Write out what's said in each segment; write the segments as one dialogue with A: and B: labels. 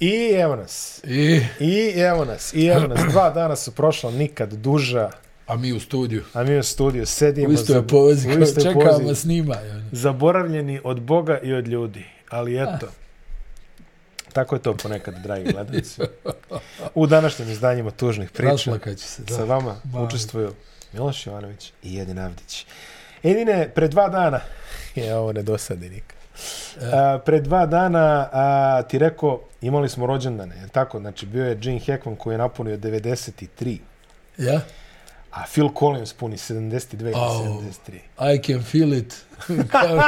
A: I evo nas.
B: I,
A: I evo nas. I evo nas. Dva dana su prošla nikad duža,
B: a mi u studiju.
A: a mi u studiju sedimo.
B: U istoj je
A: zab-
B: pozi,
A: u istoj
B: čekamo
A: pozi.
B: snimanje. ono.
A: Zaboravljeni od Boga i od ljudi.
B: Ah.
A: Ali eto. Tako je to ponekad, dragi gledalci. U današnjim izdanjima tužnih priča
B: Rašlakaću se.
A: sa
B: Da.
A: vama
B: Baj.
A: učestvuju Miloš Jovanović i Edin Avdić. Edine, pre dva dana, je ovo ne dosadi nikad.
B: E.
A: A, pre dva dana a, ti rekao, imali smo rođendane, je li tako? Znači, bio je Gene Hackman koji je napunio 93,
B: Ja?
A: a Phil Collins puni 72 ili
B: Au.
A: 73.
B: I can feel it. Kao-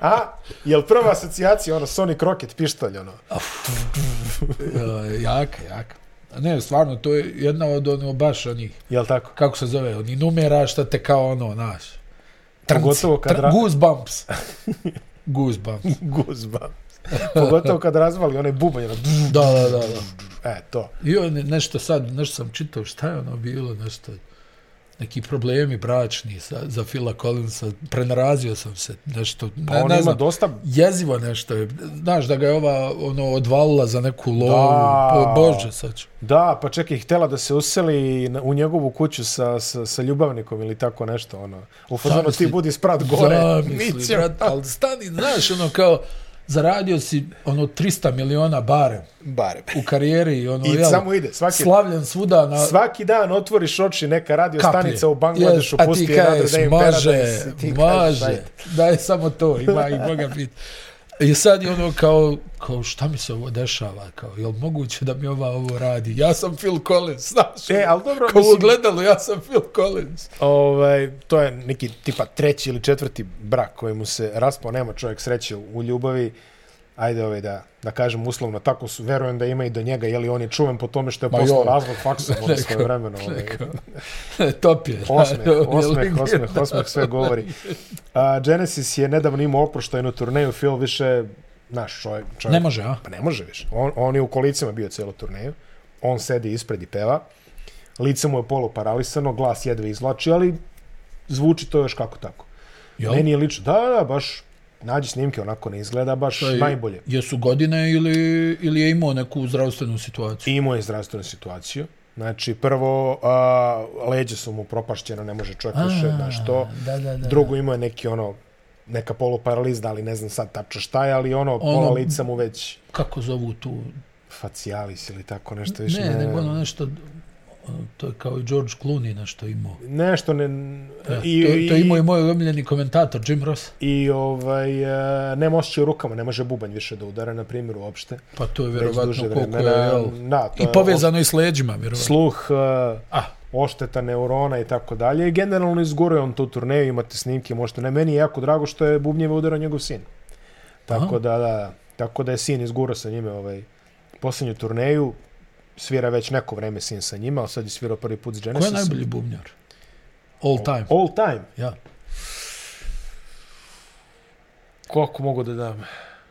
A: A, jel prva asocijacija, ono, Sonic Rocket pištolj, ono?
B: E, jaka, jaka. A Ne, stvarno, to je jedna od ono baš onih,
A: Jel tako?
B: kako se zove, onih numera šta te kao ono, znaš. Trnci.
A: Pogotovo kad ra-
B: Tr goosebumps. goosebumps.
A: Goosebumps. Pogotovo kad razvali onaj bubanj, ono, bzz,
B: Da, da, da, da.
A: e, to.
B: I on je nešto sad, nešto sam čitao, šta je ono bilo, nešto, neki problemi bračni sa, za Phila Collinsa, prenarazio sam se, nešto,
A: Pa
B: ne,
A: on
B: ne
A: ima
B: znam,
A: dosta...
B: jezivo nešto je, znaš da ga je ova ono, odvalila za neku lovu,
A: Da.
B: po, bože sad ću.
A: Da, pa čekaj, htjela da se useli na- u njegovu kuću sa, sa, sa ljubavnikom ili tako nešto, ono. U fazonu ti
B: Zamisli-
A: budi sprat gore. mi
B: Zamisli,
A: ćemo-
B: brat, ali stani, znaš, ono kao, zaradio si ono 300 miliona barem
A: Barem.
B: u karijeri, ono,
A: I
B: jel,
A: samo ide, svaki-
B: slavljen svuda na,
A: Svaki dan otvoriš oči, neka radio
B: kaplje.
A: stanica u Bangladešu
B: Yes,
A: pusti
B: A ti
A: Another
B: kažeš,
A: Day in
B: može,
A: Paradise, ti kažeš,
B: može,
A: ajde.
B: daj samo to, ima i Boga pit. I sad je ono kao, kao šta mi se ovo dešava, kao, jel moguće da mi ova ovo radi? Ja sam Phil Collins, znaš,
A: E, ali dobro,
B: kao u
A: mislim,
B: ogledalu, ja sam Phil Collins.
A: ovaj, to je neki tipa treći ili četvrti brak koji mu se raspao, nema čovjek sreće u ljubavi, ajde ovaj da, da kažem uslovno, tako su, verujem da ima i do njega, jeli on je čuven po tome što je
B: Ma
A: poslao
B: joj.
A: razlog faksom ono
B: Rekao,
A: svoje vremeno. Ovaj,
B: rekao. Top je.
A: Osmeh,
B: on je
A: osmeh,
B: legenda.
A: osmeh, osmeh sve govori. A, Genesis je nedavno imao oproštajnu turneju, Phil više, naš čovjek, čovjek
B: Ne može, a?
A: Pa ne može više. On, on je u kolicima bio celu turneju. On sedi ispred i peva. Lice mu je poluparalisano, glas jedve izlači, ali zvuči to još kako tako.
B: Jel?
A: Meni je lično, da, da, baš, nađi snimke, onako ne izgleda baš
B: je-
A: najbolje.
B: Jesu godine ili, ili je imao neku zdravstvenu situaciju?
A: Imao je zdravstvenu situaciju. Znači, prvo, a, leđe su mu propašćena, ne može čovjek više, znaš to.
B: Da, da, da.
A: Drugo, imao je neki ono, neka poluparaliz, da li ne znam sad tačno šta je, ali ono, pola
B: Ono-
A: lica mu već
B: Kako zovu tu
A: facialis ili tako nešto više.
B: Ne, ne, nego ono nešto, ono, to je kao i George Clooney nešto imao.
A: Nešto ne...
B: Ja,
A: I,
B: to, to je imao i
A: i,
B: moj omiljeni komentator Jim Ross.
A: i ovaj, e, nema osjećaj u rukama, ne može bubanj više da udara, na primjer, uopšte.
B: Pa to je
A: Već
B: vjerovatno
A: duže
B: koliko je,
A: vremena.
B: jel,
A: Da, to
B: i
A: je
B: povezano i s leđima,
A: os-
B: vjerovatno.
A: sluh, e,
B: Ah.
A: ošteta neurona i tako dalje. I generalno izguruje on tu turneju, imate snimke, možete ne. Meni je jako drago što je bubnjeve udarao njegov sin. Tako
B: Aha.
A: da, da, tako da je sin izgurao sa njime ovaj, posljednju turneju. Svira već neko vreme sin sa njima, ali sad je svirao prvi put s
B: Ko je
A: Genesis.
B: najbolji bubnjar? All time.
A: All time.
B: Ja.
A: Koliko mogu da dam?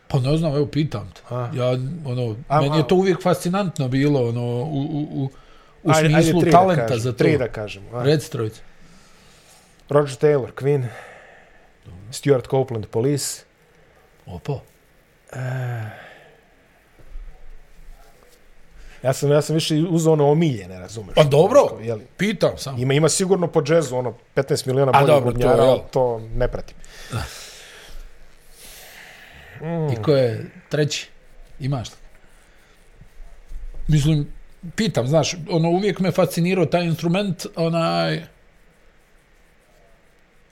B: Pa ne znam, evo, pitam te.
A: A.
B: Ja, ono,
A: A,
B: meni
A: a.
B: je to uvijek fascinantno bilo, ono, u, u, u, u
A: Ajde- ajde
B: smislu
A: tri da
B: talenta
A: kažem,
B: za to.
A: Tri da kažemo. ajde.
B: Red Strojica.
A: Roger Taylor, Queen, Stuart Copeland, Police,
B: Opa.
A: Ja sam, ja sam više uzao ono omiljene, razumeš?
B: Pa dobro,
A: Jeli,
B: pitam sam.
A: ima, ima sigurno po džezu, ono, 15 miliona
B: A
A: boljih
B: dobro, to je,
A: gubnjara,
B: jel?
A: ali to ne pratim. Hmm.
B: I ko je treći? Imaš li? Mislim, pitam, znaš, ono, uvijek me fascinirao taj instrument, onaj,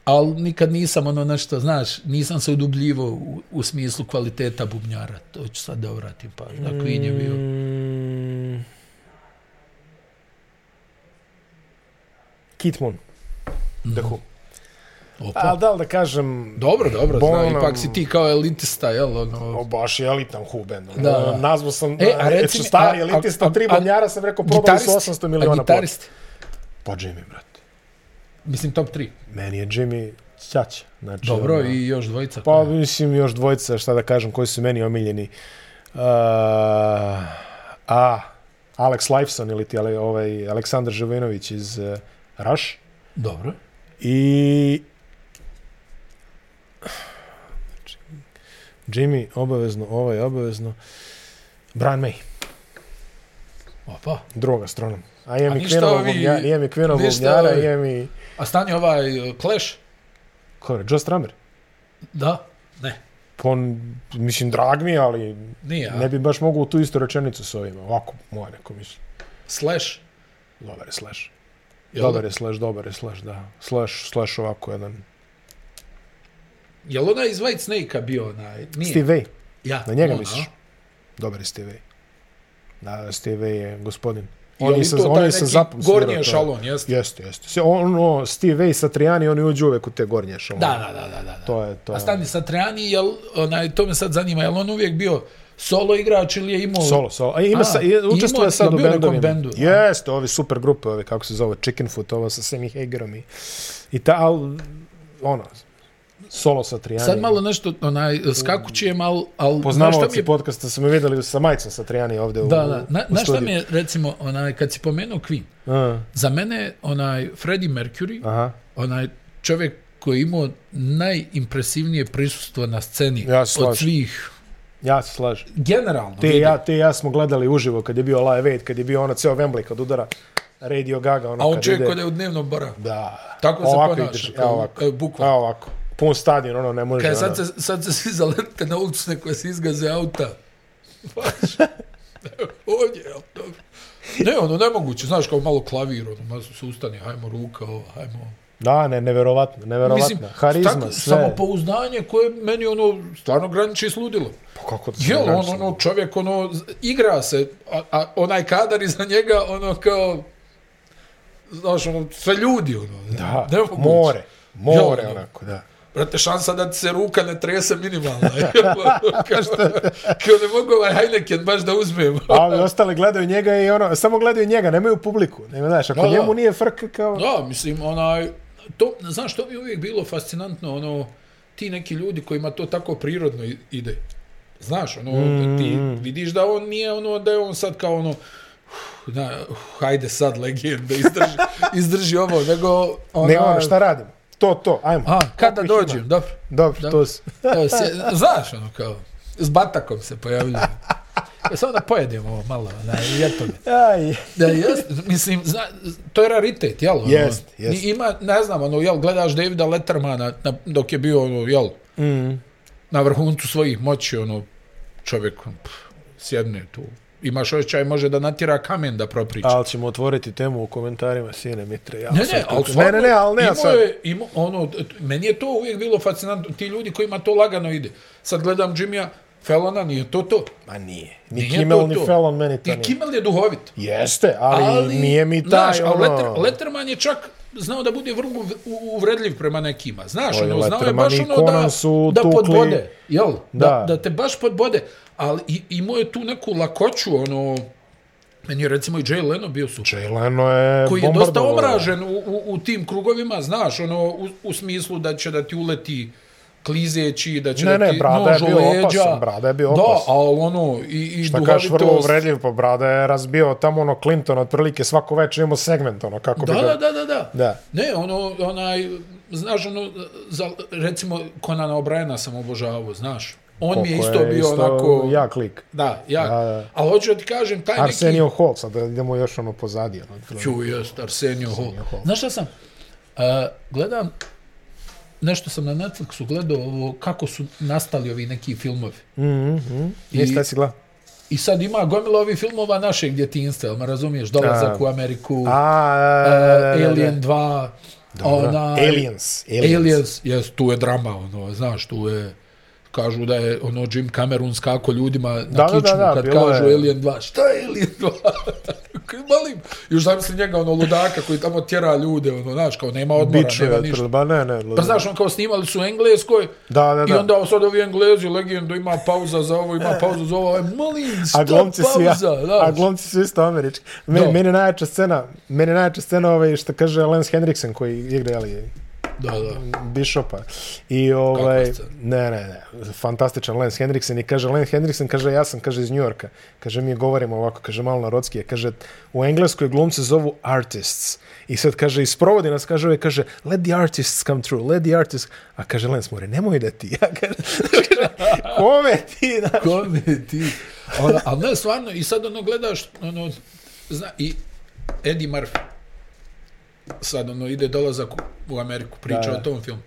B: ali nikad nisam ono nešto, znaš, nisam se udubljivo u, u smislu kvaliteta bubnjara, to ću sad da vratim pa, na
A: Hmm.
B: Queen je bio.
A: Mm. Kit Moon, The Who.
B: Opa.
A: Ali Pa, da li da kažem...
B: Dobro, dobro,
A: Bonham-
B: zna, ipak si ti kao elitista, jel, ono,
A: O, baš je elitan Who band. ono.
B: Da, da.
A: Nazvao sam,
B: E, a reci
A: eto,
B: mi,
A: stari
B: a- a-
A: elitista,
B: a-
A: tri
B: a-
A: bombnjara sam rekao, prodali su
B: gitaristi,
A: 800
B: a
A: miliona ploča.
B: gitaristi,
A: Pa Jimmy, brate.
B: mislim top 3,
A: Meni je Jimmy Ćaća. Znači,
B: dobro,
A: ono,
B: i još dvojica.
A: Pa
B: koja-
A: mislim još dvojica, šta da kažem, koji su meni omiljeni. Uh, a, Alex Lifeson ili ti ale, ovaj, Aleksandar Živinović iz uh, Rush.
B: Dobro,
A: I... Znači, Jimmy, obavezno, ovaj, obavezno. Brian May,
B: Opa.
A: drug astronom. A jem
B: A
A: i
B: ništa
A: Kvinovog
B: ovi-
A: bubnjara, jem i Kvinovog
B: ništa
A: bubnjara,
B: ovi-
A: jem i...
B: A stani ovaj e, Clash?
A: Ko je, Joe Strummer?
B: Da? Ne.
A: Pa on, mislim, drag mi je, ali
B: Nije, a?
A: ne bi baš mogao u tu istu rečenicu s ovima. Ovako, moje neko mišlje.
B: Slash?
A: Dobar je slash.
B: Jel,
A: Dobar je slash, dobar je slash, da. Slash, slash ovako jedan.
B: Jel onaj iz White Snake-a bio onaj? Nije.
A: Steve Vai,
B: Ja,
A: na njega
B: on,
A: misliš?
B: a?
A: Dobar je Steve Vai. Da, Steve Vai je gospodin.
B: I
A: On je sa, on je sa zapom
B: Gornji
A: svirao
B: je
A: to.
B: šalon, jeste?
A: Jeste, jeste. Se, ono, Steve Vai i Satriani, oni uđu uvek u te gornje šalone.
B: Da, da, da, da, da.
A: To je, to
B: A
A: je.
B: stani sa Trejani, jel, onaj, to me sad zanima, jel on uvijek bio solo igrač ili je imao...
A: Solo, solo. A ima
B: A,
A: sa, je,
B: imao-
A: učestvuje sad
B: jel
A: u
B: bio u nekom
A: bendovima.
B: bendu?
A: Bendu, Jeste, ovi super grupe, ovi kako se zove, Chickenfoot, ovo sa Sammy Hagerom i, i ta, al, ono, solo sa Trijani.
B: Sad malo nešto, onaj, skakućem, al... al znaš šta mi
A: Poznavaoci
B: je-
A: podcasta su me videli sa majicom sa Trijani ovde u,
B: Da, da. Na,
A: u
B: znaš šta
A: studiju.
B: mi je, recimo, onaj, kad si pomenuo Queen,
A: A,
B: za mene, onaj, Freddie Mercury,
A: aha.
B: onaj čovjek koji je imao najimpresivnije prisustvo na sceni
A: Ja se
B: od
A: slažem.
B: svih
A: Ja se slažem.
B: generalno
A: Te i
B: vidi.
A: ja, te i ja smo gledali uživo kad je bio Live Aid, kad je bio ono ceo Wembley, kad udara Radio Gaga, ono
B: a on
A: kad
B: čovjek
A: ide.
B: kod je u dnevnom boravku
A: Da.
B: Tako se
A: ovako
B: ponaša,
A: Drži,
B: kao-
A: kao, ovako.
B: e, bukvalno.
A: Kao ovako. Pun stadion, ono, ne može.
B: Kaj,
A: ono.
B: sad, se, sad se svi zaletite na ulicu, neko se izgaze auta. Baš. Evo, Ovdje, jel, dobro. Ne, ono, nemoguće, znaš, kao malo klavir, ono, malo se ustane, hajmo ruka, ovo, hajmo ovo.
A: Da, ne, neverovatno, neverovatno. Mislim, Harizma,
B: tako,
A: sve.
B: samopouzdanje koje meni, ono, stvarno graniči s ludilom.
A: Pa kako da se
B: Jel,
A: ne
B: on,
A: računa?
B: ono, čovjek, ono, z- igra se, a, a onaj kadar iza njega, ono, kao, znaš, ono, sve ljudi, ono,
A: Da,
B: nemoguće.
A: more, more
B: Jel, ono.
A: onako, da.
B: Brate, šansa da ti se ruka ne trese minimalna. je. ono, kao, kao ne mogu ovaj Heineken baš da uzmem.
A: A ovi ostali gledaju njega i ono, samo gledaju njega, nemaju publiku. Nema, znaš, ako
B: Da, da.
A: njemu nije frk kao...
B: Da, mislim, onaj, to, znaš, to mi je uvijek bilo fascinantno, ono, ti neki ljudi kojima to tako prirodno i- ide. Znaš, ono, mm. ti vidiš da on nije, ono, da je on sad kao, ono, uf, na, uf, hajde sad legenda, izdrži, izdrži ovo, nego, ono,
A: Ne, ono, šta radimo? To, to, ajmo.
B: a, kada
A: Koliko ih ima?
B: dođem, dobro.
A: Dobro,
B: Da.
A: to se...
B: Evo, se, znaš, ono kao, s batakom se pojavljuje. E, Ja samo da pojedemo ovo malo, na jetove.
A: Aj,
B: Da, jest, mislim, zna, to je raritet, jel? Ono,
A: Jest, jest.
B: Ni- Ima, ne znam, ono, jel, gledaš Davida Lettermana na, dok je bio, ono, jel,
A: mm,
B: na vrhuncu svojih moći, ono, čovjek ono, pff, sjedne tu. Imaš osjećaj, može da natira kamen da propriča.
A: ali ćemo otvoriti temu u komentarima, sine Mitre. Ja
B: Ne,
A: sad
B: ne, ali
A: kako- ne, ne, ne, ali ne,
B: imao
A: sad.
B: je, imao, ono, t- meni je to uvijek bilo fascinantno, ti ljudi kojima to lagano ide. Sad gledam Jimmya Felona, nije to to.
A: Ma nije. Ni
B: Nije
A: Kimmel,
B: to
A: ni
B: to.
A: Fallon, meni to
B: I
A: nije.
B: Kimmel je duhovit.
A: Jeste, ali, nije mi taj,
B: znaš, a
A: ono...
B: Letter, Letterman je čak znao da bude vrlo uv- u- uvredljiv prema nekima. Znaš,
A: Oj,
B: ono, znao je
A: Letterman
B: baš
A: i
B: ono da,
A: Conan su
B: da
A: tukli.
B: podbode. Jel?
A: Da.
B: Da. da. Da te baš podbode. Ali i, imao je tu neku lakoću, ono... Meni je recimo i Jay Leno bio super
A: Jay Leno je
B: koji je dosta
A: bombardovao.
B: omražen u, u, u tim krugovima, znaš, ono, u, u smislu da će da ti uleti klizeći, da će
A: Ne,
B: da
A: ne,
B: ti
A: brada je
B: nož u
A: bio
B: leđa.
A: opasan, brada je bio
B: Da,
A: opasan.
B: ali ono, i, i
A: Šta kažeš, vrlo
B: duhovitost.
A: uvredljiv, pa brada je razbio tamo ono Clinton, otprilike svako večer imamo segment, ono, kako bi
B: Da,
A: ga...
B: da, da, da, da.
A: Da.
B: Ne, ono, onaj, znaš, ono, za, recimo, Conana O'Briena sam obožavao, znaš. On mi je
A: Koliko
B: isto bio onako...
A: Jak lik.
B: Da, ja.
A: Da, da.
B: Ali hoću da ti kažem, taj neki...
A: Arsenio Hall, sad da idemo još ono pozadi. Ono, otprilike.
B: Ču, jest, Arsenio Hall.
A: Hall.
B: Znaš šta sam? Uh, gledam, nešto sam na Netflixu gledao ovo, kako su nastali ovi neki filmovi.
A: Mhm, mhm. Jeste, si gledao?
B: I sad ima gomila ovih filmova našeg djetinjstva, jel me razumiješ? Dolazak
A: A.
B: u Ameriku,
A: A,
B: uh,
A: da, da,
B: Alien 2,
A: da, da.
B: onaj...
A: Aliens. Aliens.
B: Aliens, jes, tu je drama, ono, znaš, tu je kažu da je ono Jim Cameron skako ljudima na
A: Da, da,
B: kičmu
A: da, da,
B: kad
A: bilo
B: kažu
A: je.
B: Alien 2. Šta je Alien 2? Koji malim. Još zamisli njega, ono, ludaka koji tamo tjera ljude, ono, znaš, kao nema odmora,
A: Biče,
B: nema ništa.
A: otprilike, ba ne, ne.
B: Pa znaš, on kao snimali su u Engleskoj,
A: Da, da,
B: I
A: da.
B: onda ovo sad ovi Englezi, legendu, ima pauza za ovo, ima pauza za ovo, aj, malim,
A: A
B: šta
A: glomci su, ja,
B: pauza,
A: a
B: znaš.
A: glomci su isto američki. Meni,
B: Da.
A: meni je najjača scena, meni je najjača scena ovaj što kaže Lance Henriksen koji igra ali
B: Da, da.
A: Bishopa. I ovaj,
B: scena?
A: ne, ne, ne, fantastičan Lance Henriksen i kaže, Lance Henriksen kaže, ja sam, kaže, iz Njujorka. Kaže, mi govorimo ovako, kaže, malo narodski, kaže, u engleskoj glumce zovu artists. I sad kaže, isprovodi nas, kaže, ovaj, kaže, let the artists come true, let the artists, a kaže, Lance more, nemoj da ti, ja kaže, kaže, kome ti, znaš,
B: Kome ti? Ona, ali ne, stvarno, i sad ono gledaš, ono, zna, i Eddie Murphy, sad ono ide dolazak u, u Ameriku, priča
A: Da, da.
B: o tom filmu.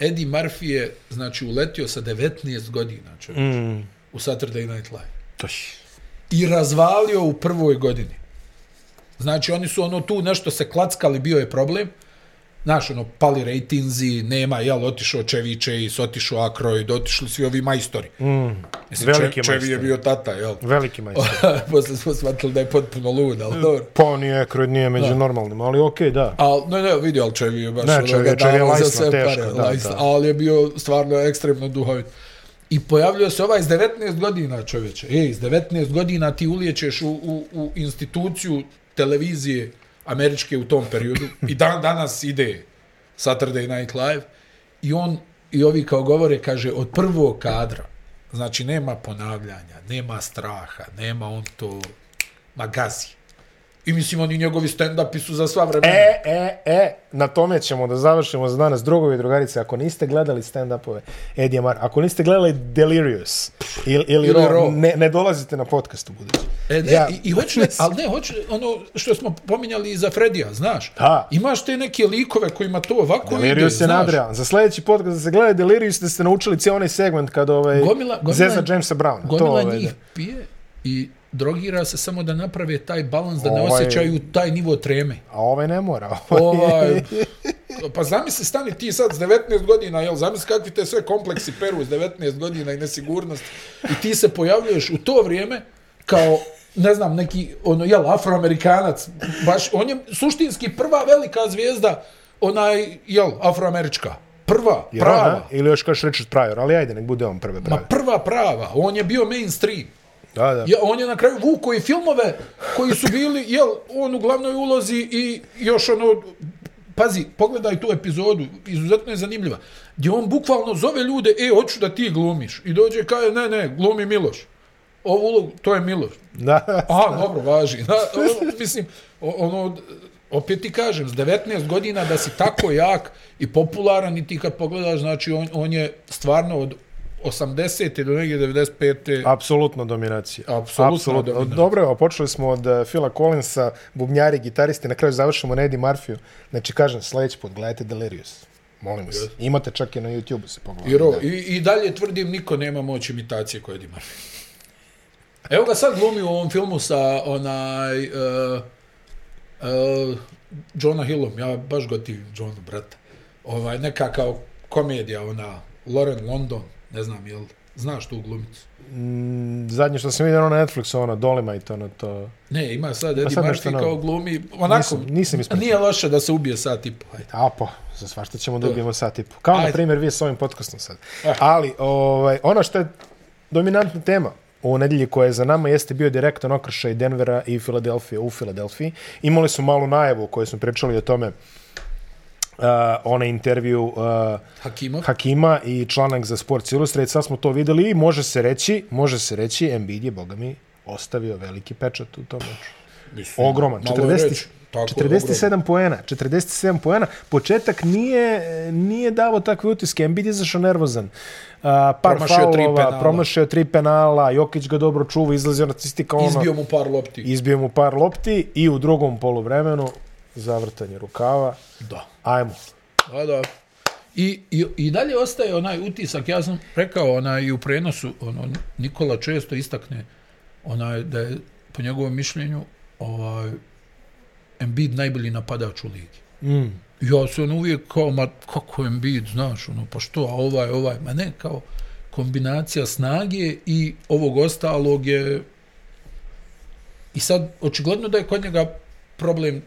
B: Eddie Murphy je, znači, uletio sa 19 godina, čovječ,
A: Mm.
B: u Saturday Night Live.
A: To
B: I razvalio u prvoj godini. Znači, oni su ono tu nešto se klackali, bio je problem. Znaš, ono, pali rejtinzi, nema, jel, otišao Čeviće i otišao Akroid, otišli svi ovi majstori.
A: Mm.
B: Mislim,
A: Veliki
B: Če,
A: majstor.
B: Čevi je bio tata, jel?
A: Veliki majstor.
B: Posle smo shvatili da je potpuno lud, ali dobro.
A: Pa on je kroj, nije među da. normalnim, ali okej, okay, da.
B: Al, ne, ne, vidio, ali Čevi je baš
A: Ne,
B: ono
A: Čevi-
B: ga
A: Čevi je
B: dao
A: lajsno,
B: za sve
A: teško,
B: pare,
A: da,
B: lajsno,
A: da.
B: ali je bio stvarno ekstremno duhovit. I pojavljuje se ovaj s 19 godina čovječe. Ej, s 19 godina ti uliječeš u, u, u instituciju televizije američke u tom periodu. I dan danas ide Saturday Night Live. I on, i ovi kao govore, kaže, od prvog kadra, znači nema ponavljanja, nema straha, nema on to magazi. I mislim, oni njegovi stand-upi su za sva vremena.
A: E, e, e, na tome ćemo da završimo za danas. Drugovi i drugarice, ako niste gledali stand-upove Eddie Mar, ako niste gledali Delirious ili, ili, ili
B: Ili
A: Raw,
B: Raw.
A: ne, ne dolazite na podcast u budući.
B: E, ne,
A: Ja-
B: ja, i, i hoću, ne, ali ne, hoću, ono što smo pominjali i za Fredija, znaš,
A: Da.
B: imaš te neke likove kojima to ovako ide,
A: Delirious je
B: znaš,
A: nadrealan. Za sljedeći podcast da se gleda Delirious da ste naučili cijel onaj segment kad ovaj
B: Gomila- gomila-
A: Zeza Jamesa Browna. to,
B: gomila
A: ovaj,
B: njih pije i drogira se samo da naprave taj balans, da ne
A: Ovaj-
B: osjećaju taj nivo treme.
A: A ovaj ne mora.
B: Ovaj, pa zamisli, stani ti sad s 19 godina, jel, zamisli kakvi te sve kompleksi peru s 19 godina i nesigurnost i ti se pojavljuješ u to vrijeme kao, ne znam, neki, ono, jel, afroamerikanac, baš, on je suštinski prva velika zvijezda, onaj, jel, afroamerička. Prva,
A: Jer
B: prava.
A: ona- ili još kaš Richard Pryor, ali ajde, nek bude on prve
B: Ma
A: prave.
B: prva prava, on je bio mainstream.
A: Da, da.
B: Ja, on je na kraju vuko i filmove koji su bili, jel, on u glavnoj ulozi i još ono, pazi, pogledaj tu epizodu, izuzetno je zanimljiva, gdje on bukvalno zove ljude, e, hoću da ti glumiš. I dođe i kaže, ne, ne, glumi Miloš. Ovu ulogu, to je Miloš.
A: da.
B: A, dobro, važi. Da, ono, mislim, o- ono, opet ti kažem, s 19 godina da si tako jak i popularan i ti kad pogledaš, znači, on, on je stvarno od 80. do negdje 95.
A: Apsolutno dominacija.
B: Apsolutno dominacija.
A: Dobro, evo, počeli smo od eh, Phila Collinsa, bubnjari, gitaristi, na kraju završimo na Eddie Murphy. Znači, kažem, sljedeći put gledajte Delirious. Molim vas. Imate čak i na YouTube-u se
B: I, ro,
A: pogledajte.
B: i, I dalje tvrdim, niko nema moć imitacije koje Eddie Murphy. Evo ga sad glumi u ovom filmu sa onaj... Uh, uh, Johna Hillom, ja baš gotivim Johnu, brata. Ovaj, neka kao komedija, ona, Lauren London, ne znam, jel, znaš tu glumicu?
A: Mm, Zadnje što sam vidio ono na Netflixu, ono, Dolemite, ono to...
B: Ne, ima sad Eddie
A: sad nešto
B: Murphy
A: novo.
B: kao glumi, onako,
A: Nisam- nisam ispratio.
B: nije loše da se ubije sad tipa, ajde.
A: A po, za svašta ćemo da ubijemo sat i po. Kao, na
B: Ajde.
A: primjer, vi s ovim podcastom sad. Ali, ovaj, ono što je dominantna tema u nedelji koja je za nama jeste bio direktan okršaj Denvera i Filadelfije u Filadelfiji. Imali su malu najavu o kojoj smo pričali o tome uh, onaj intervju uh,
B: Hakimov.
A: Hakima i članak za Sports Illustrated, sad smo to videli i može se reći, može se reći, Embiid je, boga mi, ostavio veliki pečat u tom meču.
B: Mislim,
A: Ogroman,
B: malo je
A: 40,
B: reći. Tako,
A: 47 poena, 47 poena. Početak nije, nije davo takve utiske, Embiid je zašao nervozan. A, par
B: Promašio tri
A: faulova,
B: penala.
A: promašio tri penala, Jokić ga dobro čuva, izlazio na cistika ono, izbio.
B: ogroman. Izbio mu par lopti.
A: izbio mu par lopti i u drugom poluvremenu zavrtanje rukava.
B: Da.
A: Ajmo.
B: Da, da. I, i, I dalje ostaje onaj utisak, ja sam rekao onaj, i u prenosu, ono, Nikola često istakne onaj, da je po njegovom mišljenju ovaj, Embiid najbolji napadač u ligi.
A: Mm.
B: Ja se on uvijek kao, ma kako Embiid, znaš, ono, pa što, a ovaj, ovaj, ma ne, kao kombinacija snage i ovog ostalog je... I sad, očigledno da je kod njega problem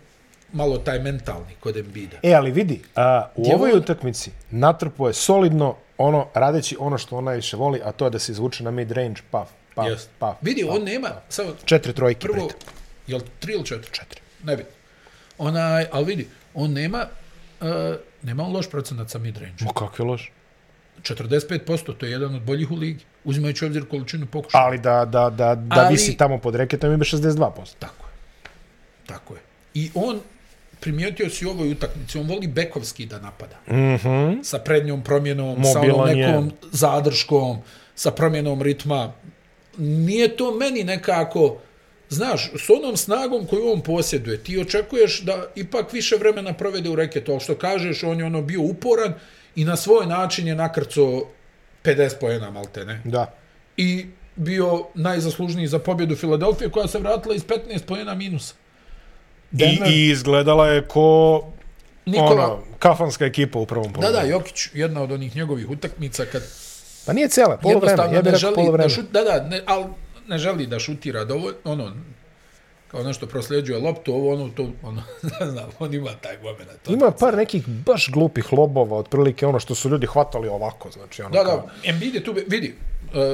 B: malo taj mentalni kod Embida.
A: E, ali vidi, a, u
B: Gdje
A: ovoj
B: on-
A: utakmici natrpo je solidno ono, radeći ono što on najviše voli, a to je da se izvuče na mid-range, paf, paf,
B: Jest.
A: paf.
B: Vidi, on nema, samo
A: Četiri trojke.
B: prvo,
A: pritom.
B: jel tri ili četiri? Četiri. Ne bitno. Onaj, ali vidi, on nema, uh, nema on loš procenat sa midrange.
A: Ma kako je loš.
B: 45%, to je jedan od boljih u ligi, uzimajući u obzir količinu pokušaja.
A: Ali da, da, da, da ali...
B: Ali-
A: visi tamo pod reketom ima 62%.
B: Tako je. Tako je. I on, primijetio si u ovoj utakmici, on voli bekovski da napada.
A: Mhm.
B: Sa prednjom promjenom, sa
A: Mobilan
B: onom
A: je.
B: nekom zadrškom, sa promjenom ritma. nije to meni nekako, znaš, s onom snagom koju on posjeduje, ti očekuješ da ipak više vremena provede u reketu, ali što kažeš, on je ono bio uporan i na svoj način je nakrcao 50 pojena, malte ne.
A: Da.
B: I bio najzaslužniji za pobjedu Filadelfije, koja se vratila iz 15 pojena minusa.
A: I,
B: Denver-
A: I izgledala je ko
B: Nikola,
A: ono, kafanska ekipa u prvom
B: Da,
A: polu.
B: da, Jokić, jedna od onih njegovih utakmica kad
A: Pa nije cela, polovreme.
B: jednostavno
A: Ja bih
B: ne
A: rekao
B: želi
A: polovreme.
B: da šut, da, da, ne, ali ne želi da šutira dovoljno, ono, kao nešto prosljeđuje loptu, ovo, ono, to, ono, ne znam, on ima taj ono. moment. To.
A: Ima par nekih baš glupih lobova, otprilike ono što su ljudi hvatali ovako, znači ono
B: Da,
A: kao...
B: da, Embiid je tu, be- vidi,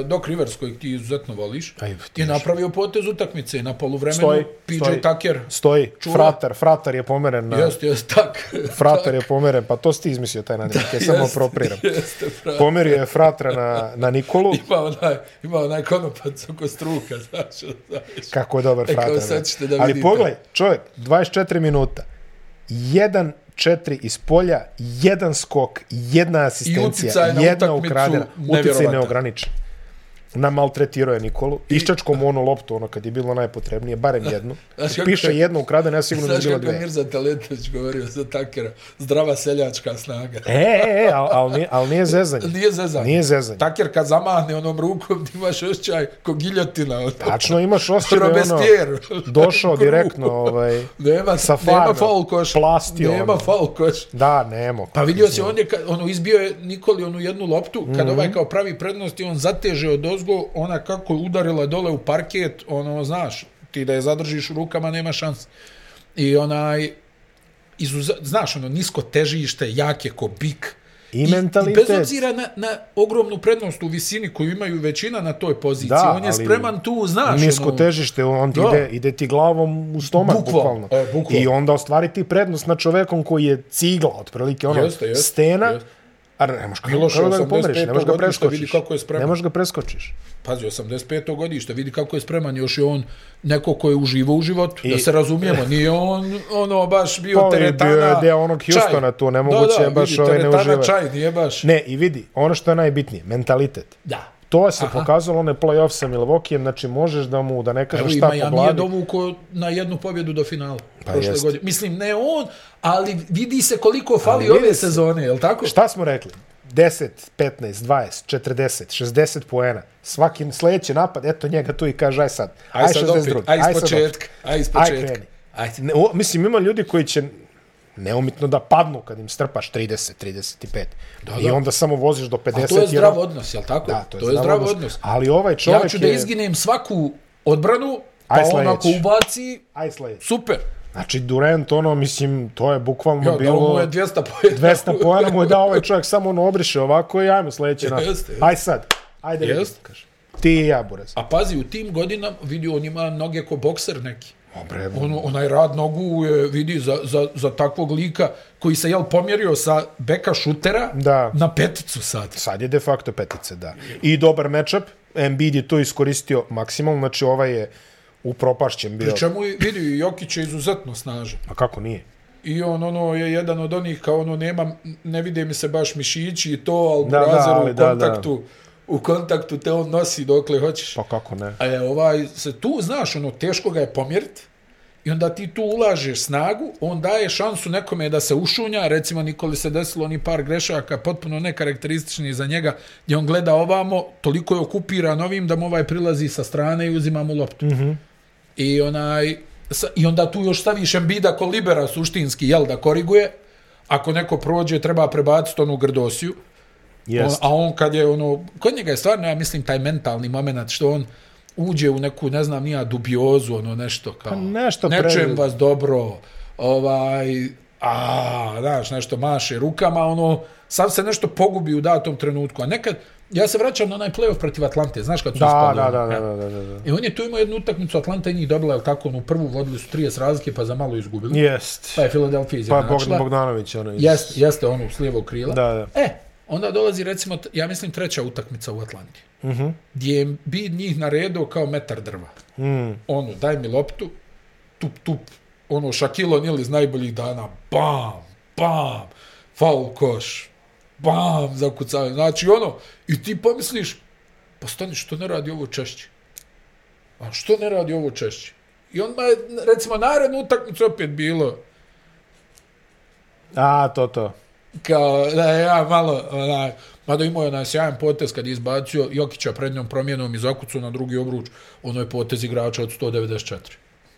B: uh, Doc Rivers, kojeg ti izuzetno voliš,
A: Aj, ti
B: je
A: još.
B: napravio potez utakmice na poluvremenu,
A: Stoji,
B: PJ
A: stoji.
B: Tucker,
A: Stoji,
B: Čuva.
A: fratar, fratar je pomeren na...
B: jest, jest, tak.
A: Fratar je pomeren, pa to si ti izmislio taj nadimak, ja samo
B: Jeste,
A: apropriram.
B: Jeste, fra.
A: Pomerio je fratra na, na Nikolu,
B: Ima onaj, ima onaj konopac oko struka, znaš, znaš.
A: kako je dobar
B: E, kao
A: fratar.
B: sad
A: ne?
B: ćete da
A: Ali
B: vidite.
A: pogledaj, čovjek, 24 minuta, 1-4 iz polja, jedan skok, jedna asistencija,
B: uticaj na
A: jedna
B: utakmicu
A: ukradena, uticaj
B: nevjerovatan.
A: neograničen. Namaltretirao je Nikolu, iščačko mu onu loptu, ono kad je bilo najpotrebnije, barem jednu.
B: Znaš kako
A: Piše
B: je-
A: jedna ukradena, ja sigurno da je
B: Znaš
A: bila
B: kako je
A: dve.
B: Mirza Taletović govorio za Takera? Zdrava seljačka snaga.
A: E, e, e, ali al, nije- al nije zezanje.
B: Nije zezanje.
A: Nije zezanje.
B: Taker kad zamahne onom rukom, ti imaš osjećaj ko giljotina. ono. Od...
A: Tačno imaš osjećaj da je ono
B: Robespierre.
A: došao
B: Ko ruku.
A: direktno, ovaj,
B: Nema,
A: sa
B: nema
A: farme,
B: faul koš.
A: plastio
B: Nema
A: ono.
B: faul koš.
A: da, nemo.
B: Pa vidio se, on je, kad, ono, izbio je Nikoli onu jednu loptu, kad ovaj
A: Mhm.
B: kao pravi prednost i on zateže od ozgo, ona kako je udarila dole u parket, ono, znaš, ti da je zadržiš u rukama, nema šans. I onaj, izuza, znaš, ono, nisko težište, jak je ko bik.
A: I mentalitet.
B: I bez obzira na, na ogromnu prednost u visini koju imaju većina na toj poziciji,
A: Da,
B: on je
A: ali
B: spreman tu, znaš,
A: nisko
B: ono,
A: težište, on ti
B: Da.
A: ide, ide ti glavom u stomak,
B: Bukvalno,
A: bukvalno.
B: e, bukvalno.
A: I onda ostvariti prednost na čovekom koji je cigla, otprilike, ono,
B: Jeste, jeste,
A: stena,
B: jeste.
A: a ne možeš
B: Miloš je
A: kako da ga
B: 85
A: pomeriš, ne možeš ga
B: godište,
A: preskočiš.
B: vidi kako je spreman.
A: Ne možeš ga preskočiš.
B: Pazi, 85. godište, vidi kako je spreman, još je on neko ko je uživo u životu, I... da se razumijemo, nije on ono baš bio
A: Pa,
B: pa,
A: on je
B: teretana
A: bio je deo onog Houstona tu, nemoguće
B: da, da,
A: je baš
B: vidi,
A: ovaj ne
B: teretana
A: uživa.
B: čaj, nije baš.
A: Ne, i vidi, ono što je najbitnije, mentalitet.
B: Da.
A: To se Aha. pokazalo one play-off sa Milwaukee, znači možeš da mu, da ne
B: Evo
A: kažeš
B: i
A: Pa šta po
B: Miami je
A: glavi.
B: dovuko na jednu pobjedu do finala.
A: Pa
B: Pa prošle
A: jest.
B: godine. Mislim, ne on, ali vidi se koliko fali
A: vidi
B: ove
A: se.
B: sezone, je li tako?
A: Šta smo rekli? 10, 15, 20, 40, 60 poena. Svaki sljedeći napad, eto njega tu i kaže, aj sad. Aj,
B: sad
A: 62.
B: opet, aj iz
A: sad
B: početka,
A: opet.
B: aj iz
A: Aj
B: početka.
A: kreni.
B: Ajde.
A: Ne, o, mislim, ima ljudi koji će neumitno da padnu kad im strpaš 30, 35. Da, I
B: da.
A: onda samo voziš do 50.
B: A to je
A: jer-
B: zdrav odnos, je li tako?
A: Da, to je,
B: zdrav odnos.
A: Ali ovaj čovjek
B: Ja ću da
A: je-
B: izginem svaku odbranu, pa
A: Aj
B: on
A: sljedeći.
B: ako ubaci,
A: Aj sljedeći.
B: super.
A: Znači, Durant, ono, mislim, to je bukvalno
B: Ja,
A: bilo...
B: bilo... mu je 200 pojena.
A: 200 poena mu je dao ovaj čovjek, samo ono obriše ovako i ajmo sljedeći napad.
B: Jeste, jeste.
A: Aj sad, ajde vidimo,
B: Jeste.
A: kaže. Ti i ja, Buraz.
B: A pazi, u tim godinama, vidi, on ima noge ko bokser neki.
A: Dobre,
B: On, onaj rad nogu je, vidi, za, za, za takvog lika koji se, jel, pomjerio sa beka šutera
A: Da.
B: na peticu sad.
A: sad je de facto petice, da. I dobar matchup, Embiid je to iskoristio maksimalno, znači ovaj je upropašćen bio.
B: Pri čemu, je, vidi, Jokić je izuzetno snažan.
A: A kako nije?
B: I on, ono, je jedan od onih, kao, ono, nema, ne vide mi se baš mišići i to, ali
A: Da, da,
B: da,
A: ali
B: da, u
A: da, da.
B: kontaktu, u kontaktu te on nosi dokle hoćeš.
A: Pa kako ne?
B: A je ovaj, se tu, znaš, ono, teško ga je pomjeriti i onda ti tu ulažeš snagu, on daje šansu nekome da se ušunja, recimo Nikoli se desilo oni par grešaka, potpuno nekarakteristični za njega, gdje on gleda ovamo, toliko je okupiran ovim da mu ovaj prilazi sa strane i uzima mu loptu. Mm -hmm. I onaj, sa, i onda tu još staviš Embida ko libera suštinski, jel, da koriguje, ako neko prođe, treba prebaciti onu grdosiju, On,
A: Jest.
B: a on kad je ono, kod njega je stvarno, ja mislim, taj mentalni moment što on uđe u neku, ne znam, nija dubiozu, ono nešto kao, pa
A: nešto
B: ne
A: pre-
B: čujem vas dobro, ovaj, a, znaš, nešto maše rukama, ono, sam se nešto pogubi u datom trenutku, a nekad, ja se vraćam na onaj playoff protiv Atlante, znaš kad su
A: Da,
B: ispali,
A: da, da,
B: ono,
A: da,
B: e.
A: da, da, da, da.
B: I on je tu imao jednu utakmicu, Atlanta je njih dobila, je tako, ono, prvu vodili su 30 razlike, pa za malo izgubili,
A: Jest.
B: pa je Philadelphia
A: Pa
B: izjednačila.
A: Bogdan Bogdanović, ono. iz-
B: Jeste, jeste ono s lijevog krila.
A: Da, da.
B: E, onda dolazi recimo, t- ja mislim treća utakmica u Atlanti. Mhm. Uh -huh. Gdje je bi njih naredao kao metar drva.
A: Mm.
B: Ono, daj mi loptu, tup, tup, ono, Shaquille O'Neal iz najboljih dana, bam, bam, faul koš, bam, zakucavanje. Znači, ono, i ti pomisliš, pa stani, što ne radi ovo češće? a što ne radi ovo češće? I onda je, recimo, narednu utakmicu opet bilo
A: A, to, to.
B: Pa, kao da je ja malo, onaj, mada imao je onaj sjajan potez kad je izbacio Jokića prednjom promjenom iz okucu na drugi obruč, ono je potez igrača od 194.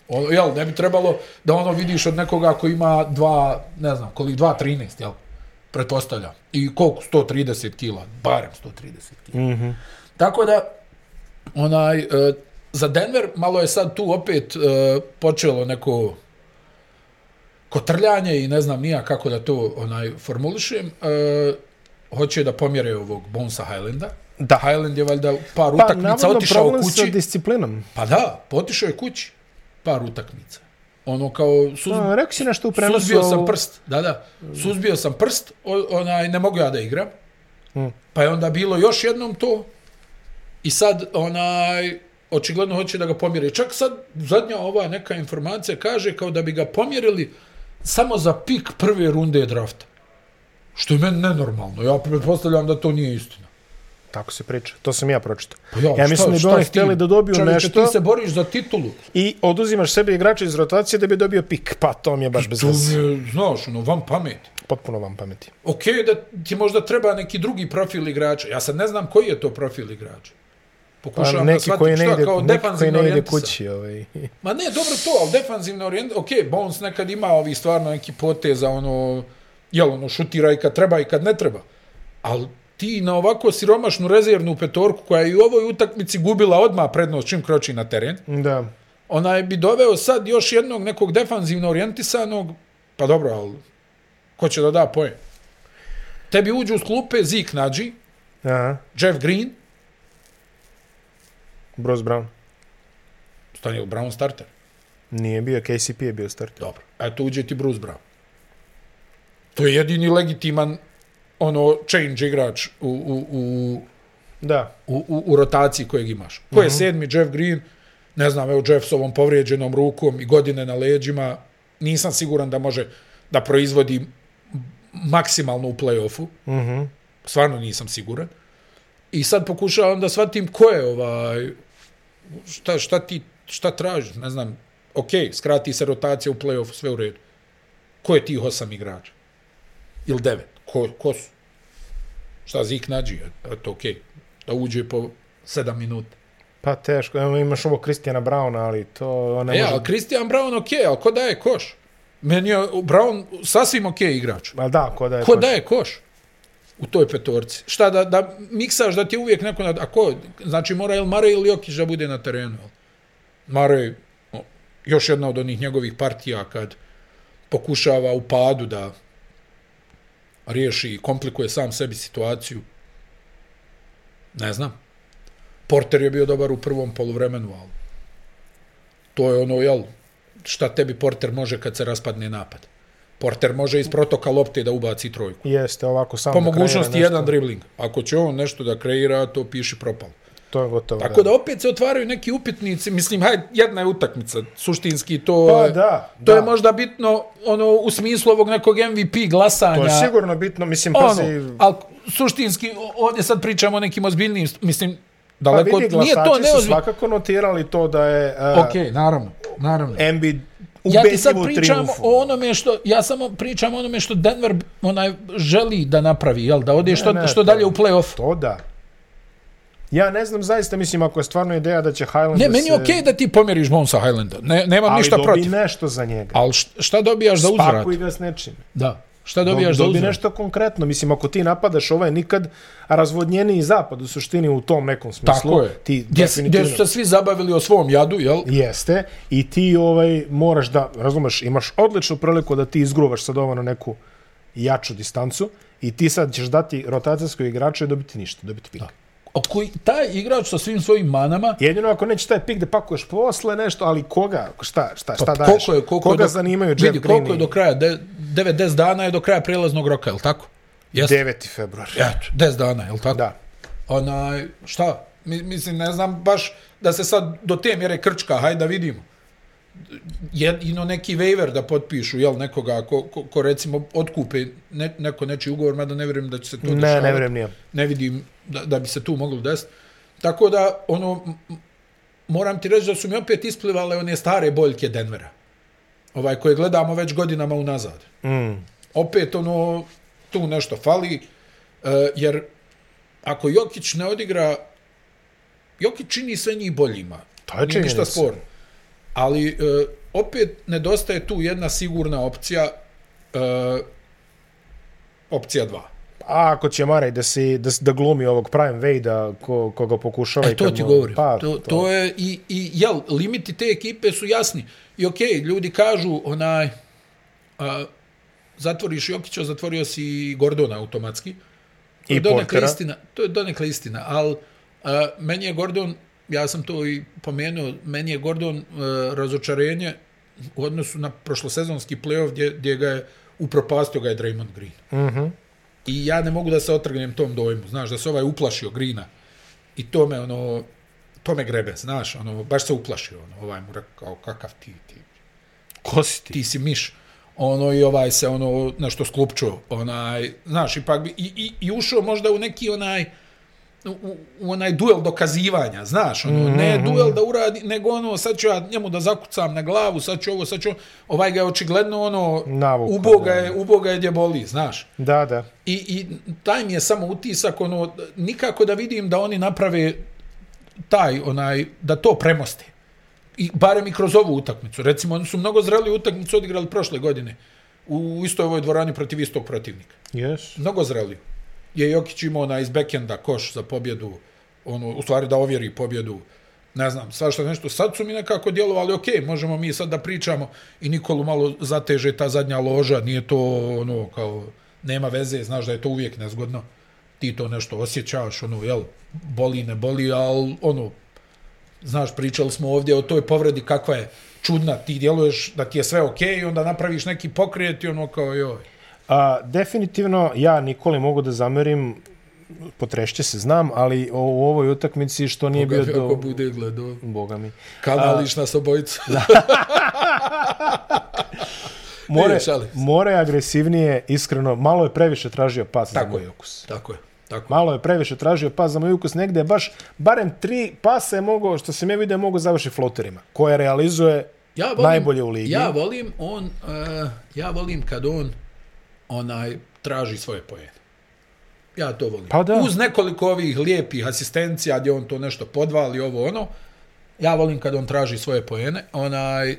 B: Ono, jel, ne bi trebalo da ono vidiš od nekoga ko ima dva, ne znam, koliko, 2.13, jel? Pretpostavljam. I koliko? 130 kila, barem 130 kila. Mm -hmm. Tako da, onaj, e, za Denver malo je sad tu opet e, počelo neko kotrljanje i ne znam nija kako da to onaj formulišem, e, hoće da pomjere ovog Bonesa Highlanda.
A: Da.
B: Highland je valjda par
A: Pa,
B: utakmica
A: navodno
B: otišao
A: problem sa
B: kući.
A: disciplinom.
B: Pa da, potišao je kući par utakmica. Ono kao suz...
A: Pa, rekao si nešto u prenosu.
B: suzbio sam prst, da, da, suzbio sam prst, o, onaj, ne mogu ja da igram.
A: Hmm.
B: Pa je onda bilo još jednom to i sad onaj, očigledno hoće da ga pomjere. Čak sad zadnja ova neka informacija kaže kao da bi ga pomjerili samo za pik prve runde drafta. Što je meni nenormalno. Ja pretpostavljam da to nije istina.
A: Tako se priča. To sam ja pročitao.
B: Pa
A: ja,
B: šta-
A: mislim da bi
B: šta
A: oni
B: s tim?
A: htjeli da dobiju
B: Čovječe,
A: nešto
B: Ti se boriš za titulu.
A: i oduzimaš sebi igrača iz rotacije da bi dobio pik. Pa to mi je baš bez
B: To mi
A: veze.
B: je, znaš, ono, van pameti.
A: Potpuno vam pameti.
B: ok da ti možda treba neki drugi profil igrača. Ja sad ne znam koji je to profil igrača.
A: Pa,
B: Pokušavam da
A: neki
B: shvatim
A: koji ne
B: šta
A: ide,
B: kao
A: neki koji
B: defanzivno
A: ne ide
B: orijentisan.
A: kući. Ovaj.
B: Ma ne, dobro to, ali defanzivno orijentisan. Ok, Bones nekad ima ovi stvarno neki poteza, ono, jel, ono, šutira i kad treba i kad ne treba. Ali ti na ovako siromašnu rezervnu petorku koja je i u ovoj utakmici gubila odmah prednost čim kroči na teren,
A: Da.
B: onaj bi doveo sad još jednog nekog defanzivno orijentisanog, pa dobro, ali ko će da da poen? Tebi uđu u klupe Zik Nađi,
A: Aha.
B: Jeff Green,
A: Bruce Brown.
B: stani u Brown starter.
A: Nije bio, KCP je bio starter.
B: Dobro. Eto, uđe ti Bruce Brown. To je jedini legitiman ono change igrač u, u, u,
A: Da.
B: u, u, u rotaciji kojeg imaš. Ko je sedmi, Jeff Green, ne znam, evo Jeff s ovom povrijeđenom rukom i godine na leđima, nisam siguran da može da proizvodi m- maksimalno u play-offu. Mm -hmm. Stvarno nisam siguran. I sad pokušavam da shvatim ko je ovaj, šta, šta ti, šta tražiš, ne znam, ok, skrati se rotacija u play-offu, sve u redu. Ko je tih osam igrača? Ili devet? Ko, ko su? Šta Zik nađi? E, Eto, okej. Da uđe po sedam minuta.
A: Pa teško. Evo imaš ovo Kristijana Browna, ali to on ne
B: E,
A: može...
B: ali Christian Brown okej, ali ko daje koš? Meni je Brown sasvim okej igrač.
A: Ali da, ko da je
B: Ko
A: koš.
B: daje koš? U toj petorci. Šta da, da miksaš da ti je uvijek neko... Na, a ko? Znači mora ili Mare ili Jokić da bude na terenu. Mare, još jedna od onih njegovih partija kad pokušava u padu da riješi i komplikuje sam sebi situaciju. Ne znam. Porter je bio dobar u prvom poluvremenu, ali to je ono, jel, šta tebi Porter može kad se raspadne napad. Porter može iz protoka lopte da ubaci
A: Pa
B: trojku.
A: Jeste, ovako samo
B: Po
A: da kreira
B: mogućnosti
A: nešto.
B: jedan dribling. Ako će on nešto da kreira, to piši propalo.
A: To je gotovo.
B: Tako da opet se otvaraju neki upitnici, mislim, hajde, jedna je utakmica, suštinski to
A: Pa
B: je-
A: da,
B: to je
A: da.
B: možda bitno ono u smislu ovog nekog MVP glasanja.
A: To je sigurno bitno. Mislim, pazi...
B: Ono, ali suštinski, o- ovdje sad pričamo o nekim ozbiljnim, st- mislim,
A: Pa
B: daleko,
A: vidi,
B: nije to
A: glasači su
B: neozbiljno.
A: svakako notirali to da je uh,
B: Okej, okay, naravno, naravno.
A: Embiid
B: ja ti sad
A: ubedljivo u
B: pričam
A: triumfu.
B: o onome što ja samo pričam o onome što Denver onaj želi da napravi, jel da ode što
A: ne,
B: što
A: to-
B: dalje u plej-of.
A: To da. Ja ne znam zaista, mislim, ako je stvarno ideja da će Highland
B: Ne,
A: da
B: meni je
A: se...
B: okej da ti pomjeriš Bonesa Highlanda. Ne, nemam
A: ali
B: ništa
A: dobi
B: protiv.
A: nešto za njega.
B: Ali št- šta dobijaš za uzvrat?
A: Spakuj ga s nečim.
B: Da. Šta
A: Dobi,
B: dobijaš
A: dobi
B: za uzvrat?
A: nešto konkretno. Mislim, ako ti napadaš ovaj nikad razvodnjeniji zapad u suštini u tom nekom smislu,
B: Tako je.
A: ti
B: gdje,
A: definitivno...
B: gdje su se svi zabavili o svom jadu, jel?
A: Jeste, i ti ovaj moraš da, razumeš, imaš odličnu priliku da ti izgruvaš sad ovo na neku jaču distancu i ti sad ćeš dati rotacijskoj igraču i dobiti ništa, dobiti pik. Da.
B: A koji, taj igrač sa svim svojim manama
A: Jedino ako nećeš taj pik da pakuješ posle nešto, ali koga, šta, šta, šta daješ?
B: Pa koliko je, koliko
A: koga
B: je do-
A: zanimaju Jeff
B: vidi,
A: Green
B: koliko je
A: i-
B: do kraja? De, 9-10 dana je do kraja prijelaznog roka, jel tako? Jeste.
A: 9. februar.
B: Eto, 10 dana, jel tako?
A: Da.
B: Onaj, šta? Mi, mislim, ne znam baš da se sad do te mjere krčka, hajde da vidimo. Jedino neki waiver da potpišu, jel, nekoga ko, ko, ko recimo otkupe ne, neko nečiji ugovor, mada ne vjerujem da će se to
A: Ne,
B: dešavati.
A: ne vrem nije.
B: Ne vidim da, da bi se tu moglo desiti. Tako da, ono, m- m- moram ti reći da su mi opet isplivale one stare boljke Denvera. Ovaj, koje gledamo već godinama unazad.
A: Mm.
B: Opet ono, tu nešto fali, e, jer ako Jokić ne odigra, Jokić čini sve njih boljima.
A: To je
B: Nije ništa
A: činjenica.
B: sporno. Ali e, opet nedostaje tu jedna sigurna opcija, e, opcija 2.
A: A ako će Marej da, si, da, da glumi ovog Prime Vade-a ko, ko ga pokušava... i
B: E, to
A: kad
B: ti
A: mu-
B: govorim.
A: Pa,
B: to, to je, i, i, jel, limiti te ekipe su jasni. I okej, okay, ljudi kažu, onaj, a, zatvoriš Jokića, zatvorio si i Gordona automatski. To je
A: I
B: donekle
A: Portera.
B: Istina, to je donekle istina, ali a, meni je Gordon, ja sam to i pomenuo, meni je Gordon a, razočarenje u odnosu na prošlosezonski play-off gdje, gdje ga je upropastio ga je Draymond Green.
A: Mhm.
B: I ja ne mogu da se otrgnem tom dojmu, znaš, da se ovaj uplašio Grina. I to me, ono, to me grebe, znaš, ono, baš se uplašio, ono, ovaj mu rekao, kakav ti, ti,
A: Ko si ti?
B: ti si miš. Ono, i ovaj se, ono, nešto sklupčuo, onaj, znaš, ipak bi, i, i, i ušao možda u neki, onaj, u, u- u onaj duel dokazivanja, znaš, ono, mm -hmm. ne
A: Mhm.
B: duel da uradi, nego ono, sad ću ja njemu da zakucam na glavu, sad ću ovo, sad ću, ovo. ovaj ga je očigledno, ono,
A: Navukao,
B: uboga
A: da.
B: je, uboga je gdje boli, znaš.
A: Da, da.
B: I, i taj mi je samo utisak, ono, nikako da vidim da oni naprave taj, onaj, da to premoste. I barem i kroz ovu utakmicu. Recimo, oni su mnogo zreliju utakmicu odigrali prošle godine u istoj ovoj dvorani protiv istog protivnika.
A: Yes.
B: Mnogo zreliju. Je Jokić imao onaj iz bekenda koš za pobjedu, ono, u stvari da ovjeri pobjedu, ne znam, svašta nešto. Sad su mi nekako djelovali, ok, možemo mi sad da pričamo i Nikolu malo zateže ta zadnja loža, nije to ono kao, nema veze, znaš da je to uvijek nezgodno. Ti to nešto osjećaš, ono, jel, boli, ne boli, ali ono, znaš, pričali smo ovdje o toj povredi kakva je čudna, ti djeluješ da ti je sve okej, okay, onda napraviš neki pokret i ono kao, joj,
A: A, definitivno, ja Nikoli mogu da zamerim, potrešće se, znam, ali o, u ovoj utakmici što nije bio
B: kako
A: do...
B: bude gledao.
A: Boga mi.
B: Kanališ nas obojicu.
A: More,
B: Nije, šalim se.
A: more je agresivnije, iskreno, malo je previše tražio pas za
B: Tako
A: moj
B: je.
A: ukus.
B: Tako je. Tako. je.
A: Malo je previše tražio pas za moj ukus, negde je baš, barem tri pasa je mogao, što sam ja vidio, mogao završi floterima, koje realizuje
B: Ja
A: najbolje u ligi.
B: Ja volim on, uh, ja volim kad on onaj traži svoje pojene. Ja to volim.
A: Pa da.
B: Uz nekoliko ovih lijepih asistencija gdje on to nešto podvali, ovo ono, ja volim kad on traži svoje pojene. Onaj,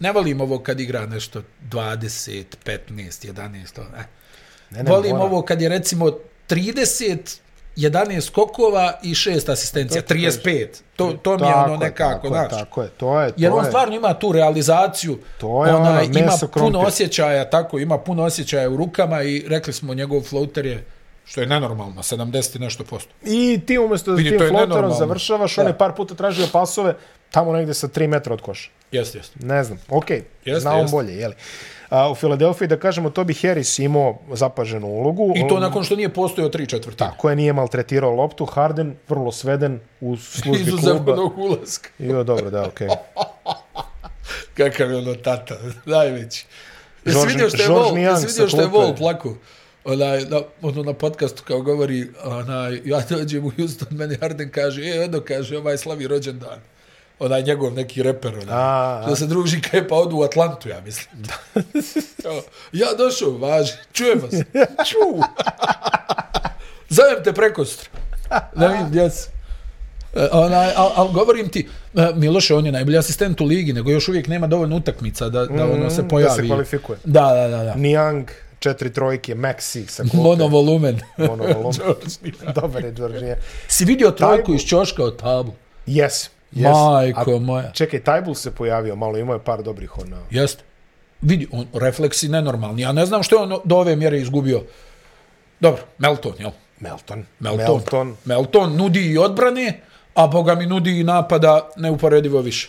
B: ne volim ovo kad igra nešto 20, 15, 11, ono, eh.
A: ne, ne,
B: Volim
A: mora.
B: ovo kad je recimo 30, 11 skokova i 6 asistencija,
A: To ti E,
B: 35. To, to mi je
A: Tako
B: ono nekako,
A: tako
B: znaš.
A: Je, tako je, to je, to
B: Jer on
A: je.
B: stvarno ima tu realizaciju,
A: To je ono,
B: ima
A: meso,
B: puno
A: krompir.
B: osjećaja, tako, ima puno osjećaja u rukama i rekli smo njegov floater je, što je nenormalno, 70 i nešto posto.
A: I ti umjesto da
B: Vidi,
A: tim
B: to je
A: floterom
B: nenormalno.
A: završavaš, on
B: Da.
A: je par puta tražio pasove tamo negde sa 3 metra od koša.
B: Jeste, jeste.
A: Ne znam, okej, okay,
B: Jeste,
A: znao on
B: jeste.
A: bolje, jeli. A, u Filadelfiji, da kažemo, Tobi Harris imao zapaženu ulogu.
B: I to
A: On-
B: nakon što nije postojao tri četvrtine.
A: Koje nije maltretirao loptu, Harden vrlo sveden u službi
B: Izuzev
A: kluba.
B: onog ulaska.
A: Jo, dobro, da, okej. Okay.
B: Kakav je ono tata, najveći. Jesi
A: George-
B: vidio što je
A: George
B: Vol,
A: Niang
B: jesi vidio
A: sa
B: što je
A: klupe.
B: Vol plaku? Onaj, na, ono na podcastu kao govori, onaj, ja dođem u Houston, meni Harden kaže, e, ono kaže, ovaj slavi rođendan. Onaj njegov neki reper, onaj,
A: A, a.
B: što se druži kaj pa odu u Atlantu, ja mislim. Kao, ja došao, važi, čujemo se. Ču! Zovem te preko sutra. Da vidim gdje si. E, Onaj, al, al govorim ti, e, Miloše, on je najbolji asistent u ligi, nego još uvijek nema dovoljno utakmica da, da ono se pojavi.
A: Mm, da se kvalifikuje.
B: Da, da, da. da.
A: Niang, četiri trojke, Maxi sa klupe.
B: Monovolumen.
A: Monovolum.
B: George Niang.
A: Dobar je, George Niang.
B: si vidio trojku
A: Tajbu.
B: iz čoška od tabu?
A: Yes, yes.
B: Majko moja.
A: Čekaj, Tajbul se pojavio malo, imao je par dobrih ono, ona.
B: Jeste. Vidi, on, refleksi nenormalni. Ja ne znam što je on do ove mjere izgubio. Dobro, Melton, jel?
A: Melton.
B: Melton.
A: Melton.
B: Melton nudi i odbrane, a boga mi nudi i napada neuporedivo više.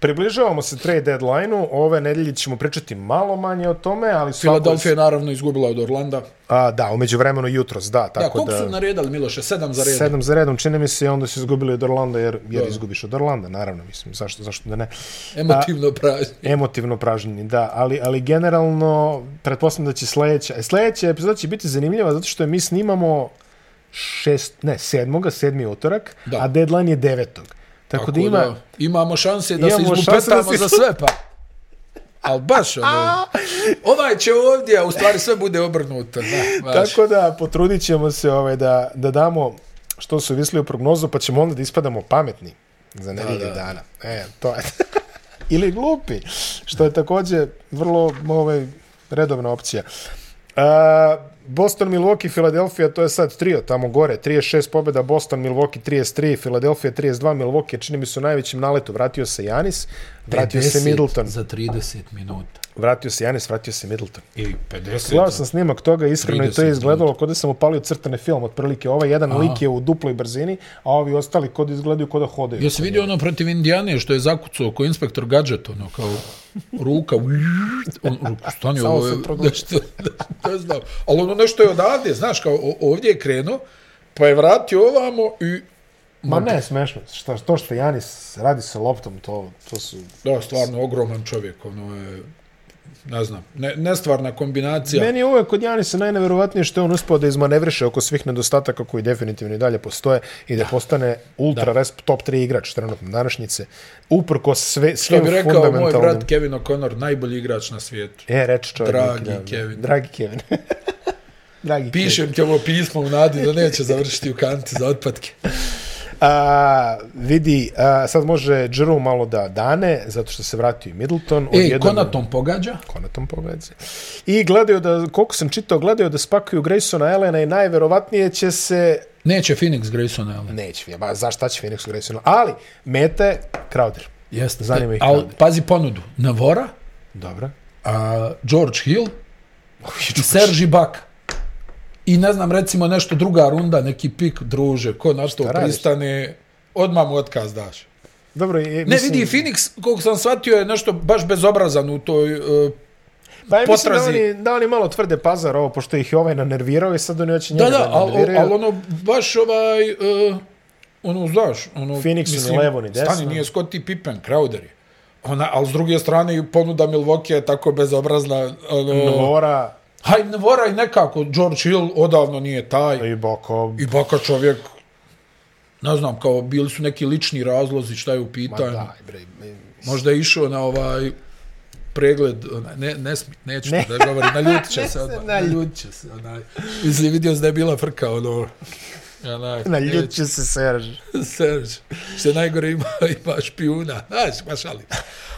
A: Približavamo se trade deadline-u, ove nedelje ćemo pričati malo manje o tome, ali svako...
B: Philadelphia je naravno izgubila od Orlanda.
A: A, da, umeđu vremenu jutros, da,
B: Da,
A: tako
B: koliko
A: da...
B: su naredali, Miloše? Sedam za redom.
A: Sedam za redom, čini mi se, i onda su izgubili od Orlanda, jer, jer izgubiš od Orlanda, naravno, mislim, zašto, zašto da ne.
B: Emotivno
A: Pa,
B: pražnje.
A: Emotivno pražnjeni, da, ali, ali generalno, pretpostavljam da će sledeća, e, sledeća epizoda će biti zanimljiva, zato što je mi snimamo šest, ne, sedmoga, sedmi utorak,
B: Da.
A: a deadline je devetog. Tako, da ima... Da,
B: imamo šanse da se
A: Imamo šanse da
B: izbupetamo
A: se-
B: za sve, pa. Ali baš ono, ovaj će ovdje, a u stvari sve bude obrnuto. Da, baš.
A: tako da potrudit ćemo se ovaj, da, da damo što su visli u prognozu, pa ćemo onda da ispadamo pametni za nedelje
B: da.
A: dana. E, to je. Ili glupi, što je također vrlo ovaj, redovna opcija. A, Boston, Milwaukee, Philadelphia, to je sad trio tamo gore. 36 pobjeda, Boston, Milwaukee 33, Philadelphia 32, Milwaukee je, čini mi se u najvećem naletu. Vratio se Janis, vratio se
B: 50
A: Middleton.
B: Za 30 minuta.
A: Vratio se Janis, vratio se Middleton.
B: Ili 50.
A: Gledao sam snimak toga, iskreno i to
B: 30
A: je izgledalo kod da sam upalio crtane film, otprilike. Ovaj jedan Aha. lik je u duploj brzini, a ovi ostali kod izgledaju kod da hodaju.
B: Jesi vidio ono protiv Indijane što je zakucao ko inspektor gadžet, ono kao ruka, ujujujuj, on, ruku, stani,
A: Samo
B: ovo je,
A: se prodlači.
B: nešto, ne znam, ali ono nešto je odavde, znaš, kao o- ovdje je krenuo, pa je vratio ovamo i,
A: Ma ne, smešno. Šta, to što Janis radi sa loptom, to, to su...
B: da, stvarno ogroman čovjek, ono je, ne znam, ne, nestvarna kombinacija.
A: Meni je uvek kod Janisa najneverovatnije što je on uspao da izmanevriše oko svih nedostataka koji definitivno i dalje postoje i da postane ultra resp, top 3 igrač trenutno današnjice, uprko sve,
B: Što
A: svim
B: bi rekao moj
A: fundamentalnim...
B: brat Kevin O'Connor, najbolji igrač na svijetu.
A: E, reči čovjek.
B: Dragi
A: neki dan.
B: Kevin.
A: Dragi Kevin. Dragi Kevin.
B: Pišem ti ovo pismo u nadi da neće završiti u kanti za otpatke.
A: A, vidi, a, sad može Jerome malo da dane, zato što se vratio i Middleton.
B: E,
A: odjednom-
B: Konatom pogađa?
A: Konatom poveze. I gledaju da, koliko sam čitao, gledaju da spakuju Graysona Elena i najverovatnije će se...
B: Neće Phoenix Grayson Allen.
A: Neće, ja, ba, zašta će Phoenixu Graysona? Ali, meta je Crowder.
B: Jeste.
A: Zanima ih
B: Al,
A: Kanada.
B: pazi ponudu. Navora,
A: Dobro.
B: a, George Hill i Serži Bak. I ne znam, recimo nešto druga runda, neki pik, druže, ko na to
A: radiš?
B: pristane, odmah mu otkaz daš.
A: Dobro, je,
B: Ne vidi, Phoenix, koliko sam shvatio, je nešto baš bezobrazan u toj... Uh,
A: pa, mislim da
B: potrazi.
A: oni, da oni malo tvrde pazar ovo, pošto ih je ovaj nanervirao i sad oni hoće njega
B: da,
A: da,
B: da, ali
A: nanerviraju.
B: al ono, baš ovaj... Uh, ono, znaš, ono...
A: Phoenixu ni levo, ni desno.
B: Stani, nije Scottie Pippen, Crowder je. Ona, ali s druge strane, i ponuda Milwaukee je tako bezobrazna. Ono,
A: Mora
B: Haj, ne moraj nekako, George Hill odavno nije taj.
A: i Boko.
B: I baka čovjek, ne znam, kao bili su neki lični razlozi šta je ono. u pitanju.
A: Daj, bre,
B: Možda je išao na ovaj pregled, onaj, ne, ne smi, neću ne. da govorim, naljutit će
A: Ne
B: se
A: se
B: odmah,
A: naljuti.
B: naljutit će se, onaj, mislim, vidio sam da je bila frka, ono, onaj,
A: na ljud će se Serž.
B: Serge, što je najgore ima, ima špijuna, znaš, ma šalim,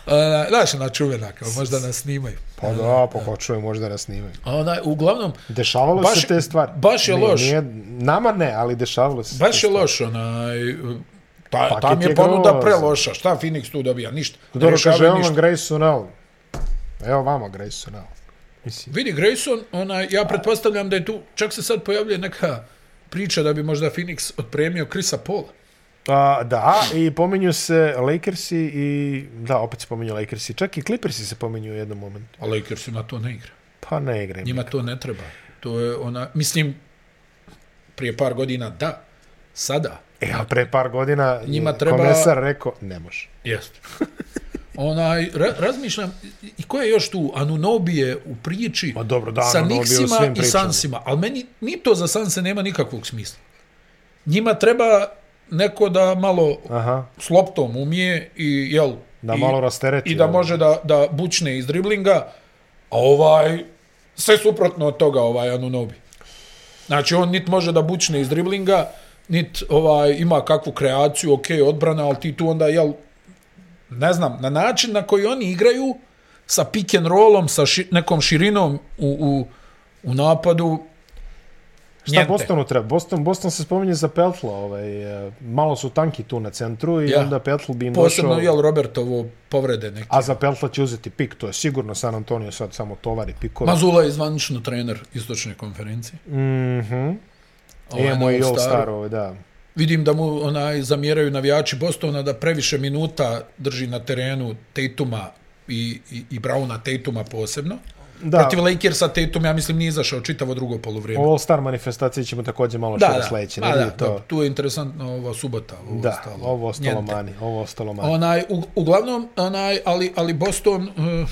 B: Onaj, znaš, ona čuvena, kao možda nas snimaju,
A: Pa da, pa ko čuje, možda nas snimaju.
B: A onaj, uglavnom,
A: Dešavalo
B: Baš-
A: se te stvari.
B: baš je
A: Nije-
B: loš.
A: Nije, nama ne, ali dešavalo se.
B: Baš je loš, onaj, ta,
A: Paket
B: tam je
A: je
B: ponuda
A: grozan.
B: preloša. Šta Phoenix tu dobija? Ništa. Ne
A: Dobro, kaže,
B: rješavaju
A: evo vam
B: ništa.
A: Grayson Allen. Evo vama Grayson Allen. Mislim,
B: Vidi, Grayson, onaj, ja pretpostavljam da je tu, čak se sad pojavljuje neka priča da bi možda Phoenix otpremio Krisa Paula.
A: a, Pa, da, i pominju se Lakersi i... Da, opet se pominju Lakersi. Čak i Clippersi se pominju u jednom momentu.
B: A Lakersima to ne igra.
A: Pa ne igraju.
B: Njima to ne treba. To je ona, mislim, prije par godina da, sada,
A: E, a pre par godina
B: Njima
A: je
B: treba-
A: komesar rekao, ne može.
B: Jeste. Onaj, ra razmišljam, i- i ko je još tu? Anunobi je u priči
A: Ma dobro, da,
B: sa
A: Anunobi je u svim
B: Nixima i
A: pričama.
B: Sansima, ali meni ni to za Sanse nema nikakvog smisla. Njima treba neko da malo
A: Aha,
B: s loptom umije i, jel,
A: da
B: i,
A: malo rastereti.
B: i da
A: ovo.
B: može da, da bučne iz driblinga, a ovaj, sve suprotno od toga ovaj Anunobi. Znači, on nit može da bučne iz driblinga, nit ovaj, ima kakvu kreaciju, ok, odbrana, ali ti tu onda, jel, ne znam, na način na koji oni igraju, sa pick and rollom, sa ši, nekom širinom u, u, u napadu,
A: Šta
B: njente.
A: Bostonu treba? Boston, Boston se spominje za Petla. Ovaj, e, malo su tanki tu na centru i
B: Ja.
A: onda Petl bi im
B: Posebno,
A: došao...
B: jel, Robertovo povrede neke.
A: A za Peltla će uzeti pik, to je sigurno San Antonio sad samo tovari pikove.
B: Mazula je zvanično trener istočne konferencije.
A: Mhm.
B: Ovaj, na
A: Imamo i
B: All-Staru.
A: All-Star, ovo, da.
B: Vidim da mu onaj zamjeraju navijači Bostona da previše minuta drži na terenu Tatuma i, i, i Browna Tatuma posebno. Da.
A: Da,
B: Protiv Lakersa Tatum, ja mislim, nije izašao čitavo drugo polovrijeme.
A: o All-Star manifestaciji ćemo također malo što sledeće.
B: Ma
A: Ne da,
B: Pa dobro,
A: to.
B: tu je interesantno ova subota. Ovo
A: Da,
B: ostalo.
A: ovo ostalo
B: Njente.
A: mani, ovo ostalo mani.
B: Onaj, u, uglavnom, onaj, ali, ali Boston, uh,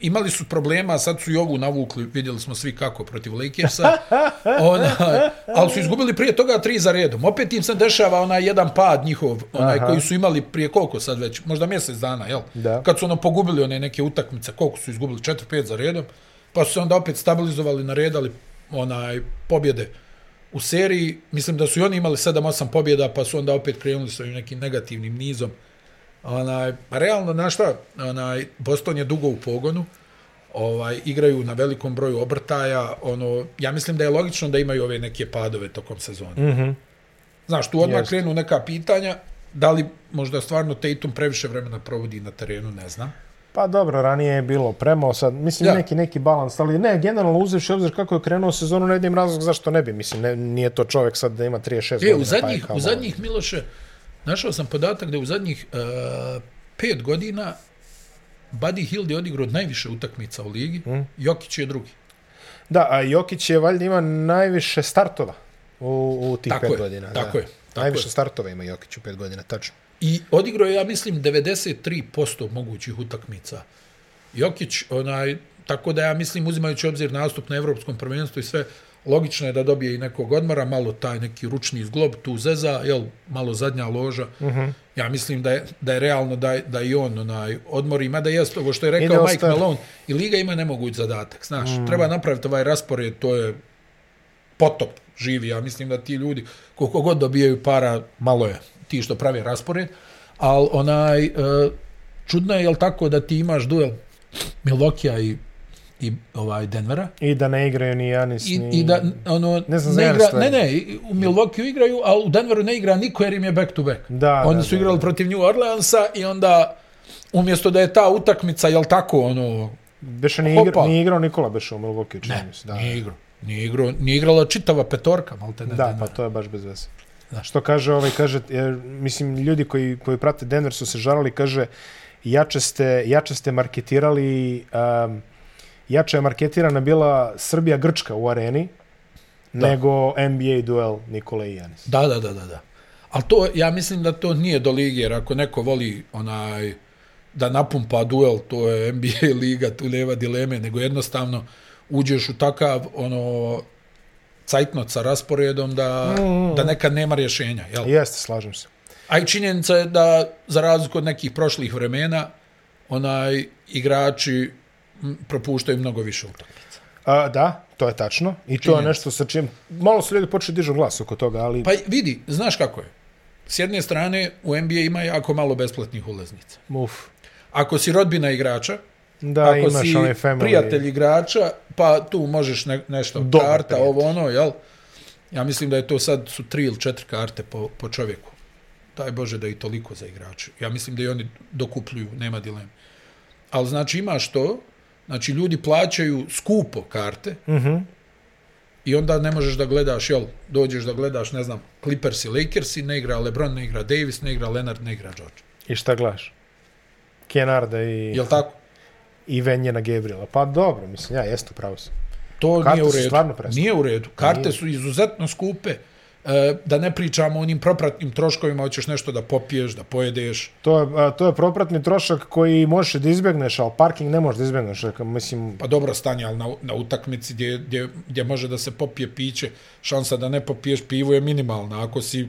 B: imali su problema, sad su i ovu navukli, vidjeli smo svi kako protiv Lakersa, ona, ali su izgubili prije toga tri za redom. Opet im se dešava onaj jedan pad njihov, onaj
A: Aha.
B: Aha. koji su imali prije koliko sad već, možda mjesec dana, jel?
A: Da.
B: Kad su ono pogubili one neke utakmice, koliko su izgubili, 4-5 za redom, pa su se onda opet stabilizovali, naredali onaj pobjede u seriji. Mislim da su i oni imali 7-8 pobjeda, pa su onda opet krenuli sa ovim nekim negativnim nizom. Onaj, pa realno, znaš šta, onaj, Boston je dugo u pogonu, ovaj, igraju na velikom broju obrtaja, ono, ja mislim da je logično da imaju ove neke padove tokom sezone. Mm -hmm. Znaš, tu odmah
A: Jest.
B: krenu neka pitanja, da li možda stvarno Tatum previše vremena provodi na terenu, ne znam.
A: Pa dobro, ranije je bilo premao sad, mislim ja.
B: Ja.
A: neki neki balans, ali ne, generalno uzevši obzir kako je krenuo sezonu, ne vidim razlog zašto ne bi, mislim, ne, nije to čovjek sad da ima 36
B: E,
A: godina.
B: u
A: pa je
B: zadnjih,
A: kao
B: u
A: malo-
B: zadnjih Miloše, našao sam podatak da je u zadnjih uh, pet godina Buddy Hield je odigrao najviše utakmica u ligi, mm. Jokić je drugi.
A: Da, a Jokić je valjda ima najviše startova u, u tih
B: Tako
A: pet
B: je,
A: godina. da.
B: tako je, tako
A: najviše
B: je.
A: startova ima Jokić u pet godina, tačno.
B: I odigrao je, ja mislim, 93% mogućih utakmica. Jokić, onaj, tako da ja mislim, uzimajući obzir nastup na evropskom prvenstvu i sve, logično je da dobije i nekog odmora, malo taj neki ručni zglob, tu zeza, jel, malo zadnja loža. Uh -huh. Ja mislim da je, da je realno da, je- da i on onaj, odmori, mada jest ovo što je
A: Ide
B: rekao Mike
A: ostaje.
B: Malone, i Liga ima nemoguć zadatak, znaš, mm. treba napraviti ovaj raspored, to je potop živi. Ja mislim da ti ljudi, koliko god dobijaju para, malo je ti što prave raspored, ali onaj, e, čudno je, jel tako, da ti imaš duel Milokija i, i ovaj Denvera,
A: I da ne igraju ni Janis,
B: I,
A: ni...
B: I da ono
A: Mm. Ne znam za
B: ne
A: Janis
B: igra, ne
A: stvarno.
B: ne, i- u Milwaukee igraju, ali u Denveru ne igra niko jer im je back to back.
A: Da,
B: Oni
A: da,
B: su
A: da,
B: igrali
A: da.
B: protiv New Orleansa i onda umjesto da je ta utakmica jel tako ono
A: Beše ni igra,
B: Hopa.
A: nije igrao Nikola Beše u Milwaukee, čini mi se. Da,
B: nije igrao. Nije, igrao, nije igrala čitava petorka, malte ne.
A: da,
B: Denvera.
A: pa to je baš bez veze.
B: Da.
A: Što kaže, ovaj, kaže, e, mislim, ljudi koji, koji prate Denver su se žalili, kaže, jače ste, jače ste marketirali, um, jače je marketirana bila Srbija-Grčka u areni, da. nego NBA duel Nikola i Janis.
B: Da, da, da, da, da. Ali to, ja mislim da to nije do lige, jer ako neko voli onaj, da napumpa duel, to je NBA liga, tu nema dileme, nego jednostavno uđeš u takav, ono, cajtnot sa rasporedom da, da nekad nema rješenja. Jel?
A: Pa Jeste, slažem se.
B: A i činjenica je da, za razliku od nekih prošlih vremena, onaj, igrači m, propuštaju mnogo više utakmica.
A: A, da, to je tačno. I to je
B: Činjenica.
A: nešto sa čim... Malo su ljudi počeli dižu glas oko toga, ali...
B: Pa vidi, znaš kako je. S jedne strane, u NBA ima jako malo besplatnih ulaznica.
A: Uf.
B: Ako si rodbina igrača,
A: Da,
B: ako
A: imaš
B: si
A: onaj family...
B: prijatelj igrača, pa tu možeš ne, nešto,
A: Dobar
B: karta,
A: prijatelj.
B: ovo ono, jel? Ja mislim da je to sad su tri ili četiri karte po, po čovjeku. Daj Bože da i toliko za igrače. Ja mislim da i oni dokupljuju, nema dileme. Ali znači imaš to, znači ljudi plaćaju skupo karte
A: Mhm.
B: i onda ne možeš da gledaš, jel, dođeš da gledaš, ne znam, Clippers i Lakers i ne igra LeBron, ne igra Davis, ne igra Leonard, ne igra George.
A: I šta gledaš? Kenarda i,
B: Jel tako?
A: i Venjena Gabriela. Pa dobro, mislim, ja jeste pravo sam.
B: To
A: Karte
B: Karte nije u
A: su
B: redu.
A: stvarno preskupe.
B: Nije u redu. Karte
A: Nije.
B: nije. su izuzetno skupe. E, da ne pričamo o onim propratnim troškovima, hoćeš nešto da popiješ, da pojedeš.
A: To je, a, to je propratni trošak koji možeš da izbjegneš, ali parking ne možeš da izbjegneš. Dakle, Mislim,
B: Pa dobro stanje, ali na, na utakmici gdje, gdje, gdje može da se popije piće, šansa da ne popiješ pivo je minimalna. Ako si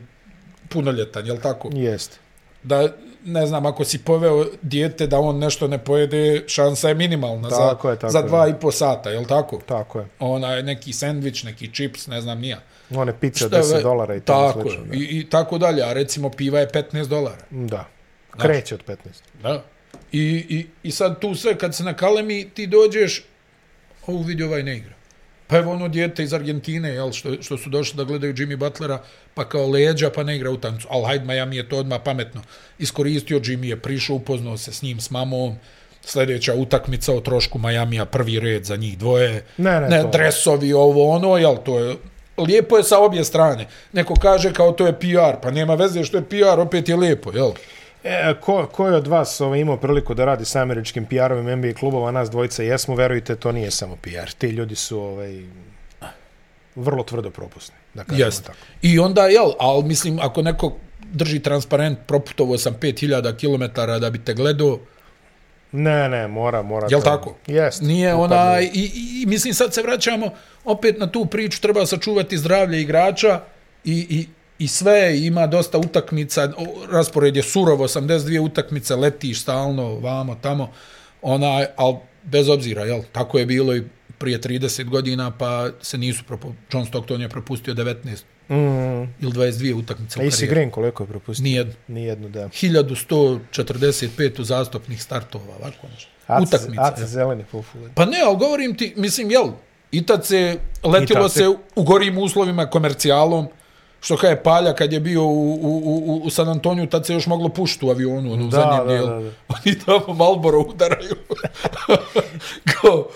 B: punoljetan, jel tako?
A: jeste.
B: Da, ne znam, ako si poveo dijete da on nešto ne pojede, šansa je minimalna
A: Tako
B: za,
A: je, tako
B: za
A: je.
B: dva i po sata, jel tako?
A: Tako je.
B: Ona, neki sendvič, neki čips, ne znam nija.
A: One pizza
B: Šta je,
A: 10 dolara i tako
B: tako
A: slično.
B: je, Znači-
A: Da.
B: I, i tako dalje, a recimo piva je 15 dolara.
A: da. Kreće od 15.
B: Da. I, i, I sad tu sve, kad se nakalemi, ti dođeš, ovu vidi ovaj ne igra. Pa evo ono dijete iz Argentine, jel, što, što su došli da gledaju Jimmy Butlera, pa kao leđa, pa ne igra u tancu. Al hajde, Miami je to odmah pametno. Iskoristio Jimmy je, prišao, upoznao se s njim, s mamom, sljedeća utakmica o trošku Majamija, prvi red za njih dvoje.
A: Ne, ne,
B: ne
A: to-
B: dresovi, ovo, ono, jel, to je lijepo je sa obje strane. Neko kaže kao to je PR, pa nema veze što je PR, opet je lijepo, jel?
A: E, ko, ko je od vas ovaj, imao priliku da radi sa američkim PR-ovim NBA klubova, nas dvojica jesmo, verujte, to nije samo PR. Ti ljudi su ovaj, vrlo tvrdo propusni. Da kažemo
B: Jeste.
A: tako.
B: I onda, jel, ali mislim, ako neko drži transparent, proputovo sam 5000 km da bi te gledao,
A: Ne, ne, mora, mora.
B: Jel
A: to-
B: tako?
A: Jest.
B: Nije
A: upadne.
B: ona, i, i, i mislim sad se vraćamo opet na tu priču, treba sačuvati zdravlje igrača i, i, i sve, ima dosta utakmica, o, raspored je surov, 82 utakmice, letiš stalno, vamo, tamo, ona, ali bez obzira, jel, tako je bilo i prije 30 godina, pa se nisu, propu, John Stockton je propustio 19
A: Mm,
B: ili 22 utakmice u
A: Isi
B: karijeri.
A: Green koliko je propustio?
B: Nijedno.
A: Nijednu, da.
B: 1145 uzastopnih startova, ovako nešto. Utakmica.
A: Aca
B: jel?
A: zeleni popular.
B: Pa ne, ali govorim ti, mislim, jel, i tad se letilo
A: I tad se-
B: se u gorim uslovima komercijalom, što kaj je Palja kad je bio u, u, u, u San Antoniju, tad se još moglo pušti u avionu, ono, u
A: Da,
B: zadnjem
A: da,
B: dijelu.
A: da, da.
B: Oni tamo Malboro udaraju. kao,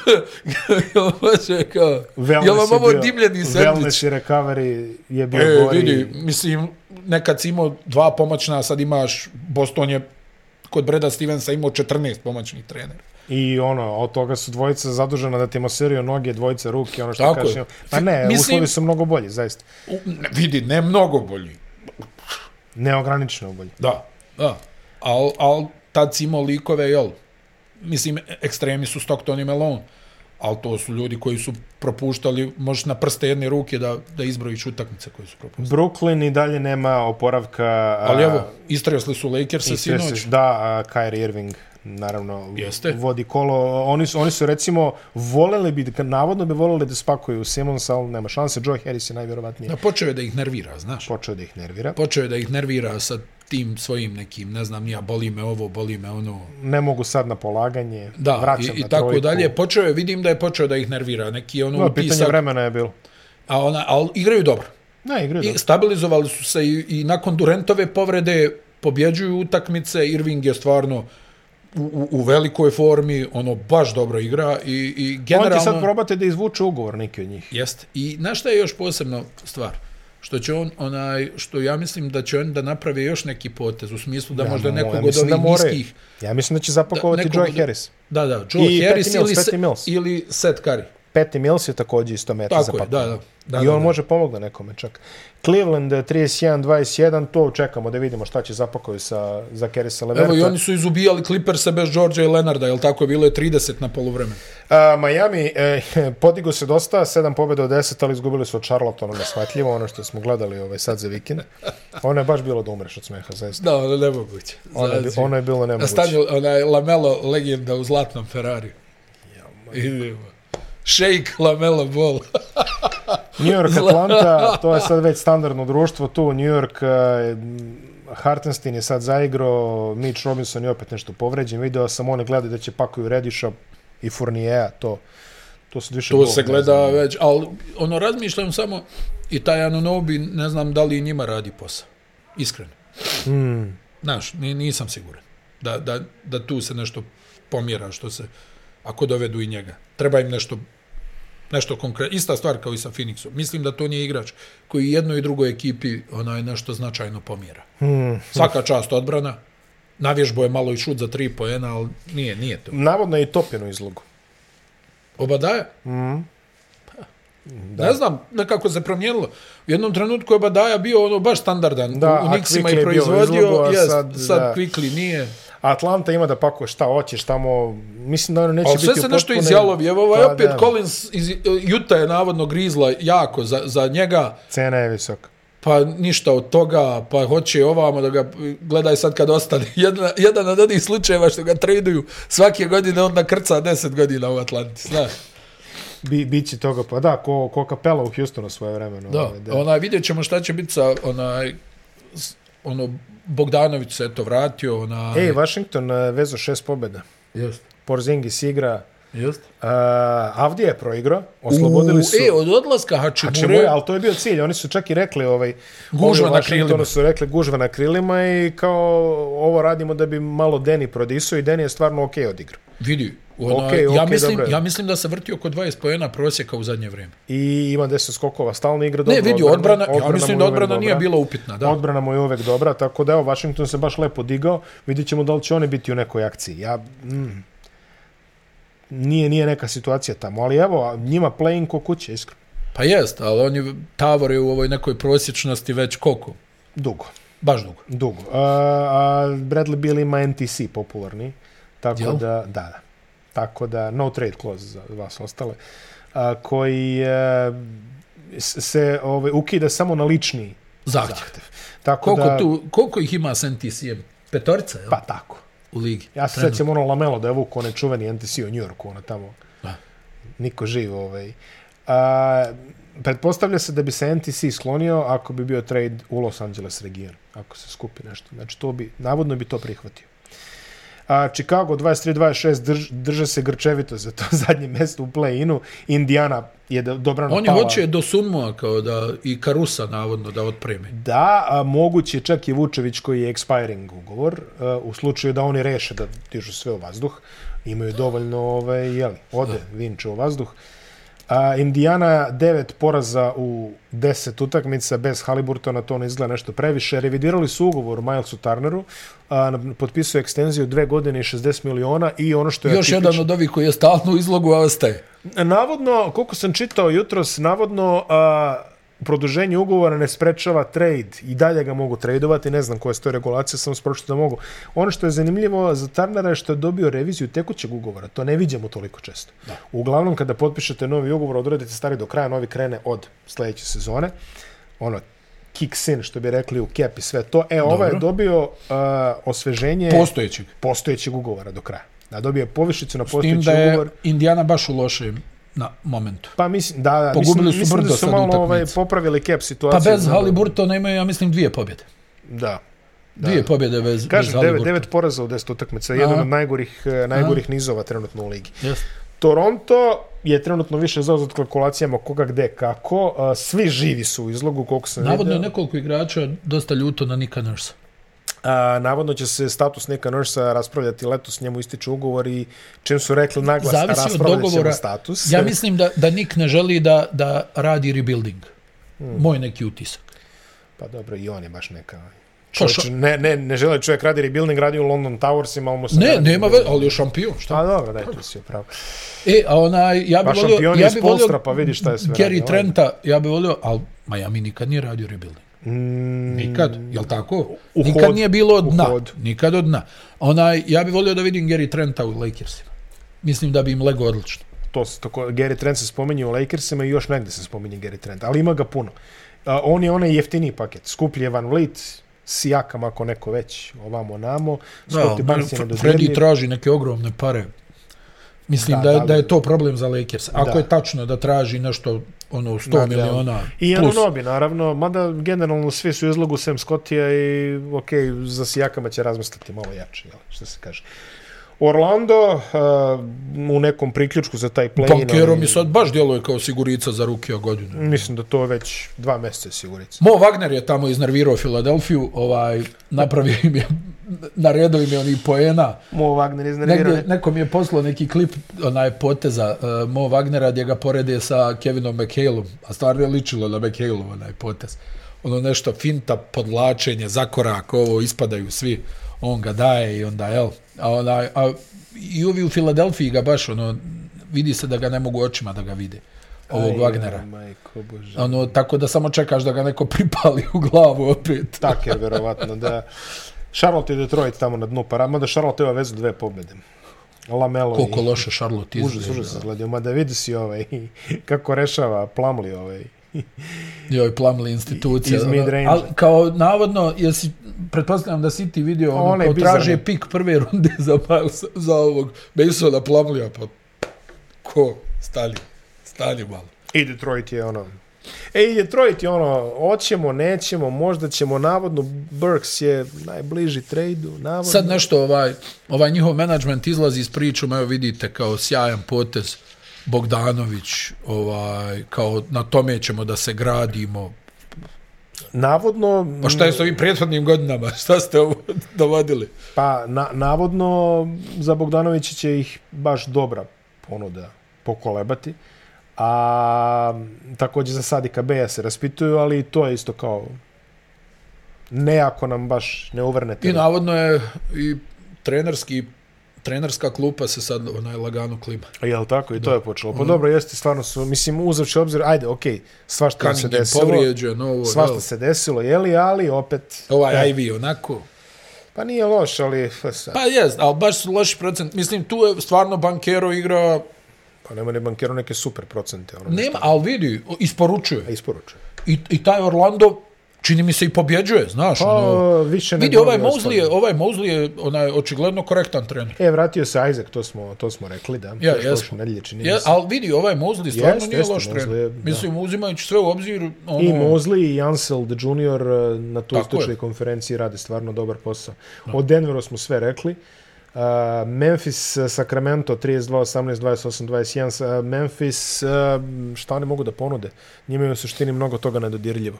B: jel može, kao, jel vam ovo dimljeni sandvič?
A: Wellness i recovery je bio
B: E,
A: gori.
B: vidi, mislim, nekad si imao dva pomoćna, sad imaš, Boston je kod Breda Stevensa imao 14 pomoćnih trenera.
A: I ono, od toga su dvojica zadužena da ti masiraju noge, dvojica ruke, ono što
B: Tako
A: Tako
B: je.
A: kažem. Pa ne,
B: Mislim-
A: uslovi su mnogo bolji, zaista.
B: U, ne, vidi, ne mnogo bolji.
A: Neograničeno bolji.
B: Da, da. Al, al tad si imao likove, jel? Mislim, ekstremi su Stockton i Melon. Ali to su ljudi koji su propuštali, možeš na prste jedne ruke da, da izbrojiš utakmice koje su propuštali.
A: Brooklyn i dalje nema oporavka.
B: Ali
A: a,
B: evo, istresli su Lakersa
A: Ispred se-
B: sinoć.
A: Da, a Kyrie Irving naravno
B: Jeste.
A: vodi kolo. Oni su, oni su recimo voleli bi, navodno bi voleli da spakuju Simons, ali nema šanse. Joe Harris je najvjerovatnije
B: Da počeo je da ih nervira, znaš.
A: počeo da ih nervira.
B: Počeo je da ih nervira sa tim svojim nekim, ne znam, ja boli me ovo, boli me ono.
A: Ne mogu sad na polaganje,
B: Da,
A: vraćam
B: i, i
A: na
B: tako
A: trojku.
B: dalje. Počeo je, vidim da je počeo da ih nervira. Neki ono
A: No, pitanje
B: utisak,
A: vremena je bilo.
B: a ona, ali igraju dobro.
A: Ne, igraju
B: I
A: dobro.
B: stabilizovali su se i, i nakon Durentove povrede pobjeđuju utakmice. Irving je stvarno u, u, u velikoj formi, ono baš dobro igra i, i
A: On
B: generalno...
A: će sad probate da izvuče ugovor neki od njih.
B: Jeste. I na šta je još posebno stvar? Što će on, onaj, što ja mislim da će on da naprave još neki potez u smislu da ja, možda
A: mo-
B: nekog od
A: mislim
B: ovih da
A: moraju.
B: niskih...
A: Ja mislim da će zapakovati
B: nekog
A: Joe
B: od-
A: Harris.
B: Da, da, Joe
A: I
B: Harris
A: Patty Mills,
B: ili,
A: Patty
B: se-
A: Mills.
B: ili Seth Curry.
A: Patty Mills je također isto meta
B: Tako je,
A: zapakovan.
B: da, da. da
A: I
B: da,
A: on
B: da.
A: može pomogne nekome čak. Cleveland eh, 31-21, to čekamo da vidimo šta će zapakoju sa, za Kerisa Leverta.
B: Evo i oni su izubijali Clippersa bez Georgia i Leonarda, jel tako? Bilo je 30 na poluvremenu.
A: A, Miami e, podigo se dosta, 7 pobjeda od 10, ali izgubili su od Charlottona neshvatljivo, ono što smo gledali ovaj sad za vikend. Ono je baš bilo da umreš od smeha, zaista.
B: Da, ono je nemoguće. Znači,
A: Ono je, bi- ono je bilo
B: Na
A: nemoguće.
B: stanju, onaj Lamelo legenda u zlatnom Ferrari. Idemo. Shake Lamelo Ball.
A: New York Atlanta, to je sad već standardno društvo tu, New York e, Hartenstein je sad zaigrao, Mitch Robinson je opet nešto povređen, video sam one gledaju da će pakuju Rediša i Fourniera, to to su više
B: to
A: gol, ne
B: se gleda
A: znam.
B: već, ali ono razmišljam samo i taj Anunobi, ne znam da li i njima radi posao. Iskreno.
A: Mm,
B: Znaš, ni, nisam siguran da, da, da tu se nešto pomjera što se, ako dovedu i njega. Treba im nešto nešto konkretno, ista stvar kao i sa Phoenixom. Mislim da to nije igrač koji jednoj i drugoj ekipi onaj nešto značajno pomjera.
A: mm.
B: Svaka čast odbrana, navježbo je malo i šut za tri poena, ali nije, nije to.
A: Navodno je i Topin u izlogu.
B: Obadaja?
A: Mm.
B: Da. Pa, Ne znam, nekako se promijenilo. U jednom trenutku je Obadaja bio ono baš standardan
A: Da,
B: u
A: a Quickly
B: Nixima
A: je
B: i
A: bio izlogo,
B: proizvodio,
A: a
B: jest,
A: sad,
B: sad, sad
A: da.
B: Quickly nije.
A: Atlanta ima da pakuje šta hoćeš tamo, mislim da ono neće
B: Ali
A: biti
B: Znači, sve se nešto
A: upotpunen.
B: izjalovi. Evo ovaj
A: Pa,
B: opet
A: da,
B: Collins iz Juta je navodno grizla jako za, za njega,
A: Cena je visoka.
B: pa ništa od toga, pa hoće ovamo da ga gledaj sad kad ostane. Jedna, jedan od onih slučajeva što ga traduju svake godine on nakrca 10 godina u Atlanti, znaš.
A: Bi, biće toga, pa da, ko, ko kapela u Houstonu svoje vremeno.
B: Da,
A: ovaj,
B: da. onaj, vidjet ćemo šta će biti sa onaj, s- ono, Bogdanović se eto vratio, onaj...
A: Ej, Washington eh, vezo šest pobjeda.
B: jest,
A: Porzingis igra,
B: jest.
A: uh, Avdija je proigrao, oslobodili su...
B: E, od odlaska Hačimure,
A: Čemu, ali to je bio cilj, oni su čak i rekli ovaj,
B: Gužva
A: ovi u
B: na
A: Washingtonu
B: krilima.
A: su rekli gužva na krilima i kao ovo radimo da bi malo Deni prodisao i Deni je stvarno okej okay odigrao.
B: vidi, onaj,
A: Okej,
B: ja,
A: okej,
B: mislim,
A: dobro je.
B: ja mislim da se vrti oko 20 pojena prosjeka u zadnje vrijeme.
A: I ima 10 skokova, stalno igra dobro.
B: Ne, vidi, odbrana, ja
A: mu
B: mislim
A: je
B: da
A: uvek
B: odbrana nije
A: dobra.
B: bila upitna, da.
A: Odbrana mu je uvek dobra, tako da evo, Washington se baš lepo digao. Vidjet ćemo da li će oni biti u nekoj akciji. Ja, mm, nije, nije neka situacija tamo, ali evo, a njima playing ko kuće, iskreno.
B: Pa jest, ali oni tavore u ovoj nekoj prosječnosti već koliko?
A: Dugo.
B: Baš dugo.
A: Dugo. A, a Bradley Beal ima NTC popularni. Tako
B: Jel?
A: da, da, da. Tako da, no trade clause za vas ostale, a, koji a, s- se ovaj, ukida samo na lični
B: Zahtjev.
A: zahtjev. Tako
B: Koliko,
A: da,
B: tu, koliko ih ima s NTC-em? Petorica, jel?
A: Pa tako.
B: u ligi.
A: Ja se
B: Trenutno.
A: sjećam ono Lamelo da je vuku onaj čuveni NTC u Njorku, ono tamo.
B: Da.
A: Niko živ ovaj. A, pretpostavlja se da bi se NTC sklonio ako bi bio trade u Los Angeles region, ako se skupi nešto. Znači, to bi, navodno bi to prihvatio. A Chicago 23-26 drž, drže se grčevito za to zadnje mesto u play-inu. Indiana je do- dobrano
B: Oni
A: pala.
B: hoće do Sumua kao da i Karusa navodno da otpreme.
A: Da, a moguće čak i Vučević koji je expiring ugovor, e, u slučaju da oni reše da dižu sve u vazduh, imaju dovoljno, ovaj, jeli, ode Vinče u vazduh. A, Indiana devet poraza u 10 utakmica bez Haliburtona, to ne izgleda nešto previše. Revidirali su ugovor Milesu Turneru, a, na- potpisao je ekstenziju dve godine i 60 miliona i ono što je
B: Još
A: atipično-
B: jedan od ovih koji je stalno u izlogu, a ostaje.
A: Navodno, koliko sam čitao jutros, navodno a, produženje ugovora ne sprečava trade i dalje ga mogu tradeovati, ne znam koje stoje regulacije, sam spročito da mogu. Ono što je zanimljivo za Tarnara je što je dobio reviziju tekućeg ugovora, to ne vidimo toliko često. Da. Uglavnom, kada potpišete novi ugovor, odradite stari do kraja, novi krene od sledeće sezone, ono, kicks in, što bi rekli u cap i sve to. E, ovaj je
B: Dobro.
A: dobio a, osveženje
B: Postojećeg.
A: postojećeg ugovora do kraja. Da, dobio je povišicu na
B: S tim
A: postojeći
B: da je
A: ugovor.
B: Indiana baš u lošem na momentu.
A: Pa mislim, da, da,
B: Pogubili
A: mislim,
B: su
A: mislim da
B: brdo
A: su
B: sad
A: malo
B: utakmicu.
A: ovaj, popravili cap
B: Pa
A: situaciju.
B: bez Haliburtona imaju, ja mislim, dvije pobjede.
A: Da.
B: Dvije pobjede bez, bez
A: Kažem, devet,
B: Haliburtona.
A: devet poraza u 10 utakmica, jedan
B: Aha.
A: od najgorih, eh, najgorih nizova trenutno u ligi.
B: Jeste.
A: Toronto je trenutno više zauzat kalkulacijama koga gde kako. eh, Svi živi su u izlogu, koliko sam
B: Navodno je
A: vidio.
B: nekoliko igrača dosta ljuto na Nika Nursa.
A: A, navodno će se status Nika Nursa raspravljati letos, njemu ističe ugovor i čim su rekli naglas,
B: Zavisi od
A: raspravljat ćemo
B: dogovora.
A: status.
B: Ja mislim da, da Nik ne želi da, da radi rebuilding.
A: Hmm.
B: Moj neki utisak.
A: Pa dobro, i on je baš neka...
B: Pa
A: Čovječ,
B: šo-
A: ne, ne, ne žele čovjek radi rebuilding, radi u London Towersima, ali mu se
B: Ne,
A: radi-
B: nema veze, ali je šampion, šta?
A: Pa dobro, daj, tu si upravo.
B: E, a onaj, ja
A: Pa
B: bi
A: šampion
B: volio,
A: je
B: ja
A: iz
B: bi
A: Polstra,
B: volio
A: pa vidi šta je sve
B: Gary
A: radio.
B: Trenta, ja bi volio, ali Miami nikad nije radio rebuilding.
A: Mm,
B: Nikad, jel tako?
A: U
B: nikad
A: hod,
B: nije bilo
A: u
B: od dna.
A: hod.
B: Nikad od dna. Onaj, ja bi volio da vidim Gary Trenta u Lakersima. Mislim da bi im lego odlično.
A: to se tako, Gary Trent se spominje u Lakersima i još negde se spominje Gary Trent, ali ima ga puno. A, on je onaj jeftiniji paket, skuplji je Van Vliet, Sijakam ako neko već, ovamo namo,
B: Da,
A: Scotty Barnes je
B: Fre-
A: nedodirljiv.
B: Freddy traži neke ogromne pare. Mislim
A: Da,
B: da, da,
A: da,
B: je, da je to problem za Lakers. Ako
A: Da.
B: je tačno da traži nešto ono 100
A: Da, da.
B: miliona
A: I ono
B: plus.
A: Anunobi, naravno, mada generalno svi su u izlogu sem Scottija i ok, za Sijakama će razmisliti malo jače, jel, što se kaže. Orlando uh, u nekom priključku za taj play-in.
B: Bankero
A: ali-
B: pa mi sad baš djeluje kao sigurica za rukija godine.
A: Mislim da to već dva mjeseca je sigurica.
B: Mo Wagner je tamo iznervirao Filadelfiju, ovaj, napravio im je, naredio im je onih poena.
A: Mo Wagner iznervirao.
B: Negdje, neko mi je poslao neki klip, onaj poteza uh, Mo Wagnera gdje ga porede sa Kevinom McHaleom, a stvarno je ličilo na McHaleom onaj potez. Ono nešto finta, podlačenje, zakorak, ovo, ispadaju svi, on ga daje i onda, jel, a, onaj, a i ovi u Filadelfiji ga baš, ono, vidi se da ga ne mogu očima da ga vide, ovog Wagnera.
A: Aj, majko bože.
B: Ono, tako da samo čekaš da ga neko pripali u glavu opet.
A: Taker, verovatno, da. Charlotte i Detroit tamo na dnu para, mada Charlotte ima vezu dve pobjede. Lamelo
B: Koliko
A: i...
B: loše Charlotte
A: Užas,
B: izgleda.
A: užas izgledio, mada vidi si ovaj, kako rešava Plamli ovaj.
B: Joj, Plumlee institucija.
A: Iz
B: ono.
A: mid-range.
B: Al, kao, navodno, jesi, pretpostavljam da si ti vidio, ono,
A: Onaj
B: kao
A: bizarni.
B: traže pik prve runde za, Milesa- za ovog Masona Plumleea, pa ko, stani, stani malo.
A: I Detroit je ono... E, i Detroit je ono, oćemo, nećemo, možda ćemo, navodno, Burks je najbliži trejdu, navodno.
B: Sad nešto, ovaj, ovaj njihov management izlazi iz pričom, evo vidite, kao sjajan potez, Bogdanović, ovaj, kao na tome ćemo da se gradimo,
A: Navodno...
B: Pa šta je s ovim prethodnim godinama? Šta ste ovo dovodili?
A: Pa, na, navodno, za Bogdanovića će ih baš dobra ponuda pokolebati. A također za Sadika Beja se raspituju, ali i to je isto kao ne ako nam baš ne uvrnete.
B: I navodno je i trenerski trenerska klupa se sad onaj lagano klima.
A: Jel tako? I to je počelo.
B: Mhm.
A: Pa dobro, jeste, stvarno su, mislim, uzavši obzir, ajde, okej, svašta nam se
B: Cunningham
A: desilo,
B: povrijeđen, ovo,
A: svašta E.
B: jel?
A: se desilo, jeli, ali opet...
B: Ovaj
A: Da.
B: Ivy onako.
A: Pa nije loš, ali... f- Sad.
B: Pa jest, ali baš su loši procent. Mislim, tu je stvarno Bankero igra...
A: Pa nema ni bankero neke super procente. Ono
B: Nema, ali vidi, isporučuje.
A: Isporučuje.
B: I, I taj Orlando, čini mi se, i pobjeđuje, znaš. Pa, ono,
A: O, više nego
B: vidi, ovaj
A: ovi
B: Mosley, je,
A: ostali.
B: ovaj Mosley je onaj, očigledno korektan trener.
A: E, vratio se Isaac, to smo, to smo rekli, da.
B: Ja,
A: Prošle
B: jesmo.
A: Nedelje, čini
B: Je,
A: mi se.
B: ali vidi, ovaj Mosley stvarno
A: Jest,
B: nije
A: jeste,
B: loš
A: Mosley
B: trener.
A: je, da.
B: Mislim, uzimajući sve u obzir, ono,
A: I Mosley i Ansel the Junior e, na toj
B: Tako
A: stručnoj
B: je.
A: konferenciji rade stvarno dobar posao. O Denveru smo sve rekli. Uh, Memphis, e, Sacramento 32, 18, 28, 21. Sa- Memphis, uh, šta oni mogu da ponude? Njima je u suštini mnogo toga nedodirljivo.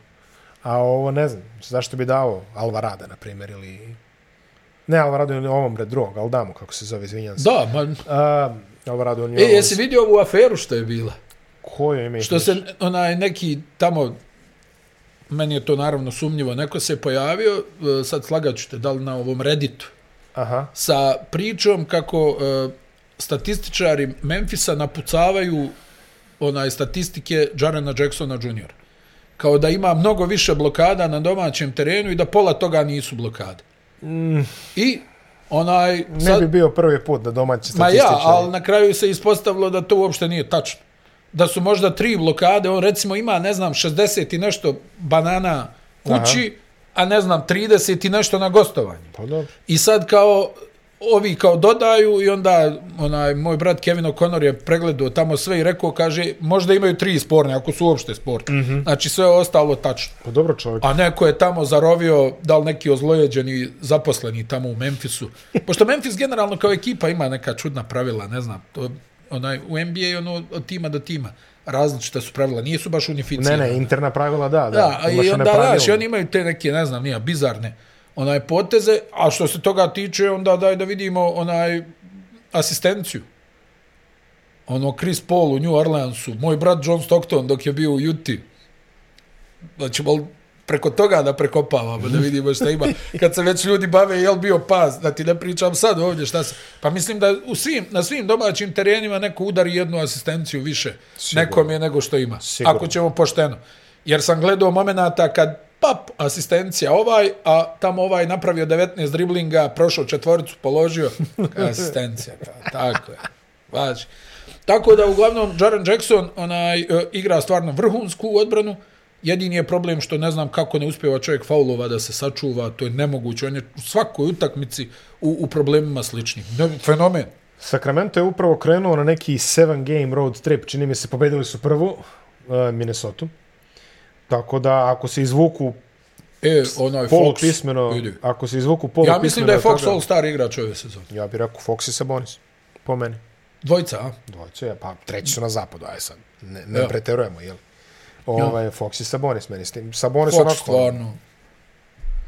A: A ovo ne znam, zašto bi dao Alvarada, na primjer, ili... Ne Alvarado, ili ovom red drugog, Aldamu, kako se zove, izvinjam se.
B: da, ma,
A: Uh, Alvarado, on je...
B: e, jesi vidio ovu aferu što je bila?
A: Koje ime?
B: Što se onaj neki tamo meni je to naravno sumnjivo, neko se pojavio, e, sad slagaću te, da li na ovom Redditu,
A: Aha.
B: sa pričom kako e, statističari Memfisa napucavaju onaj statistike Jarena Jacksona Jr. Kao da ima mnogo više blokada na domaćem terenu i da pola toga nisu blokade. I onaj...
A: Ne bi bio prvi put da domaći
B: Ma
A: statističari...
B: ja, ali na kraju se ispostavilo da to uopšte nije tačno. Da su možda tri blokade, on recimo ima, ne znam, 60 i nešto banana kući, Aha. a ne znam, 30 i nešto na gostovanju.
A: Pa dobro.
B: I sad kao ovi kao dodaju i onda onaj moj brat Kevin O'Connor je pregledao tamo sve i rekao kaže možda imaju tri sporne ako su uopšte sporne. Mm -hmm. Znači sve je ostalo tačno.
A: Pa dobro čovjek.
B: A neko je tamo zarovio, da li neki ozlojeđeni zaposleni tamo u Memfisu. Pošto Memphis generalno kao ekipa ima neka čudna pravila, ne znam, to, onaj, u NBA ono od tima do tima. Različita su pravila, nisu baš
A: Ne,
B: unificirane.
A: ne, interna pravila da, da.
B: Da, a
A: Imaš
B: i
A: one
B: onda,
A: pravilne.
B: znaš, i oni imaju te neke, ne znam, nije, bizarne onaj poteze, a što se toga tiče, onda daj da vidimo onaj asistenciju. Ono, Chris Paul u New Orleansu, moj brat John Stockton dok je bio u Juti. Znači, bol, preko toga da prekopavamo, da vidimo šta ima. Kad se već ljudi bave, jel bio pas, da ti ne pričam sad ovdje šta se... Pa mislim da u svim, na svim domaćim terenima neko udari jednu asistenciju više
A: Sigurno.
B: Sigurno. nekom je nego što ima.
A: Sigurno.
B: Sigurno. Ako ćemo pošteno. Jer sam gledao momenata kad pap, asistencija ovaj, a tamo ovaj napravio 19 driblinga, prošao četvoricu, položio, asistencija. Ta, tako je. Važi. Tako da, uglavnom, Jaren Jackson onaj, e, igra stvarno vrhunsku odbranu, Jedini je problem što ne znam kako ne uspjeva čovjek faulova da se sačuva, to je nemoguće. On je u svakoj utakmici u, u problemima sličnim. Ne, fenomen.
A: Sacramento je upravo krenuo na neki seven game road trip. Čini mi se, pobedili su prvu uh, Minnesota. Tako da, ako se izvuku
B: E, onaj
A: polu
B: Fox.
A: pismeno,
B: vidi.
A: ako se izvuku polu
B: Ja mislim da je
A: pismeno
B: Fox
A: toga-
B: All-Star igrač ove sezone.
A: Ja bih rekao Fox i Sabonis. Po meni.
B: Dvojica, a?
A: Dvojice, je, pa treći su na zapadu, aj sad. Ne, ne
B: Ja.
A: preterujemo, jel? Ovaj, Fox i Sabonis meni s tim. Sabonis
B: Fox
A: onako...
B: stvarno.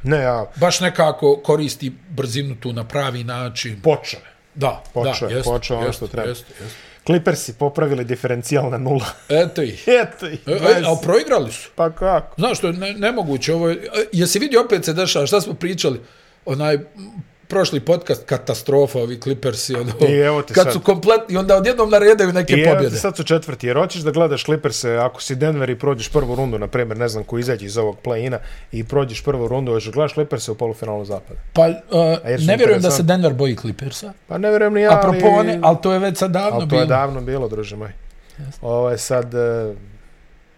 A: Ne, ja,
B: Baš nekako koristi brzinu tu na pravi način.
A: počeo je.
B: Da,
A: Počeo je,
B: da, jeste,
A: počeo ono
B: jeste,
A: što treba.
B: Jeste, jeste.
A: Clippersi popravili diferencijal na nula.
B: Eto ih.
A: Eto ih,
B: E, e,
A: 20.
B: ali proigrali su.
A: Pa kako?
B: Znaš što je ne, nemoguće ovo je, e, jesi vidio opet se dešava šta smo pričali onaj m, prošli podcast katastrofa ovi Clippersi ono,
A: I evo te
B: kad
A: sad.
B: su kompletni onda odjednom naredaju neke
A: I evo ti
B: pobjede.
A: sad su četvrti, jer hoćeš da gledaš Clippers-e, ako si Denver i prođeš prvu rundu, na primjer, ne znam ko izađe iz ovog play-ina, i prođeš prvu rundu, hoćeš da gledaš Clippers-e u polufinalu zapada.
B: Pa
A: A jer
B: uh,
A: su
B: ne vjerujem da se
A: interesantni.
B: Denver boji Clippersa.
A: Pa ne vjerujem ni ja,
B: A propo
A: ali...
B: one, ali to je već sad davno
A: ali to
B: bilo.
A: je davno bilo, druže moj. Ovo je sad e,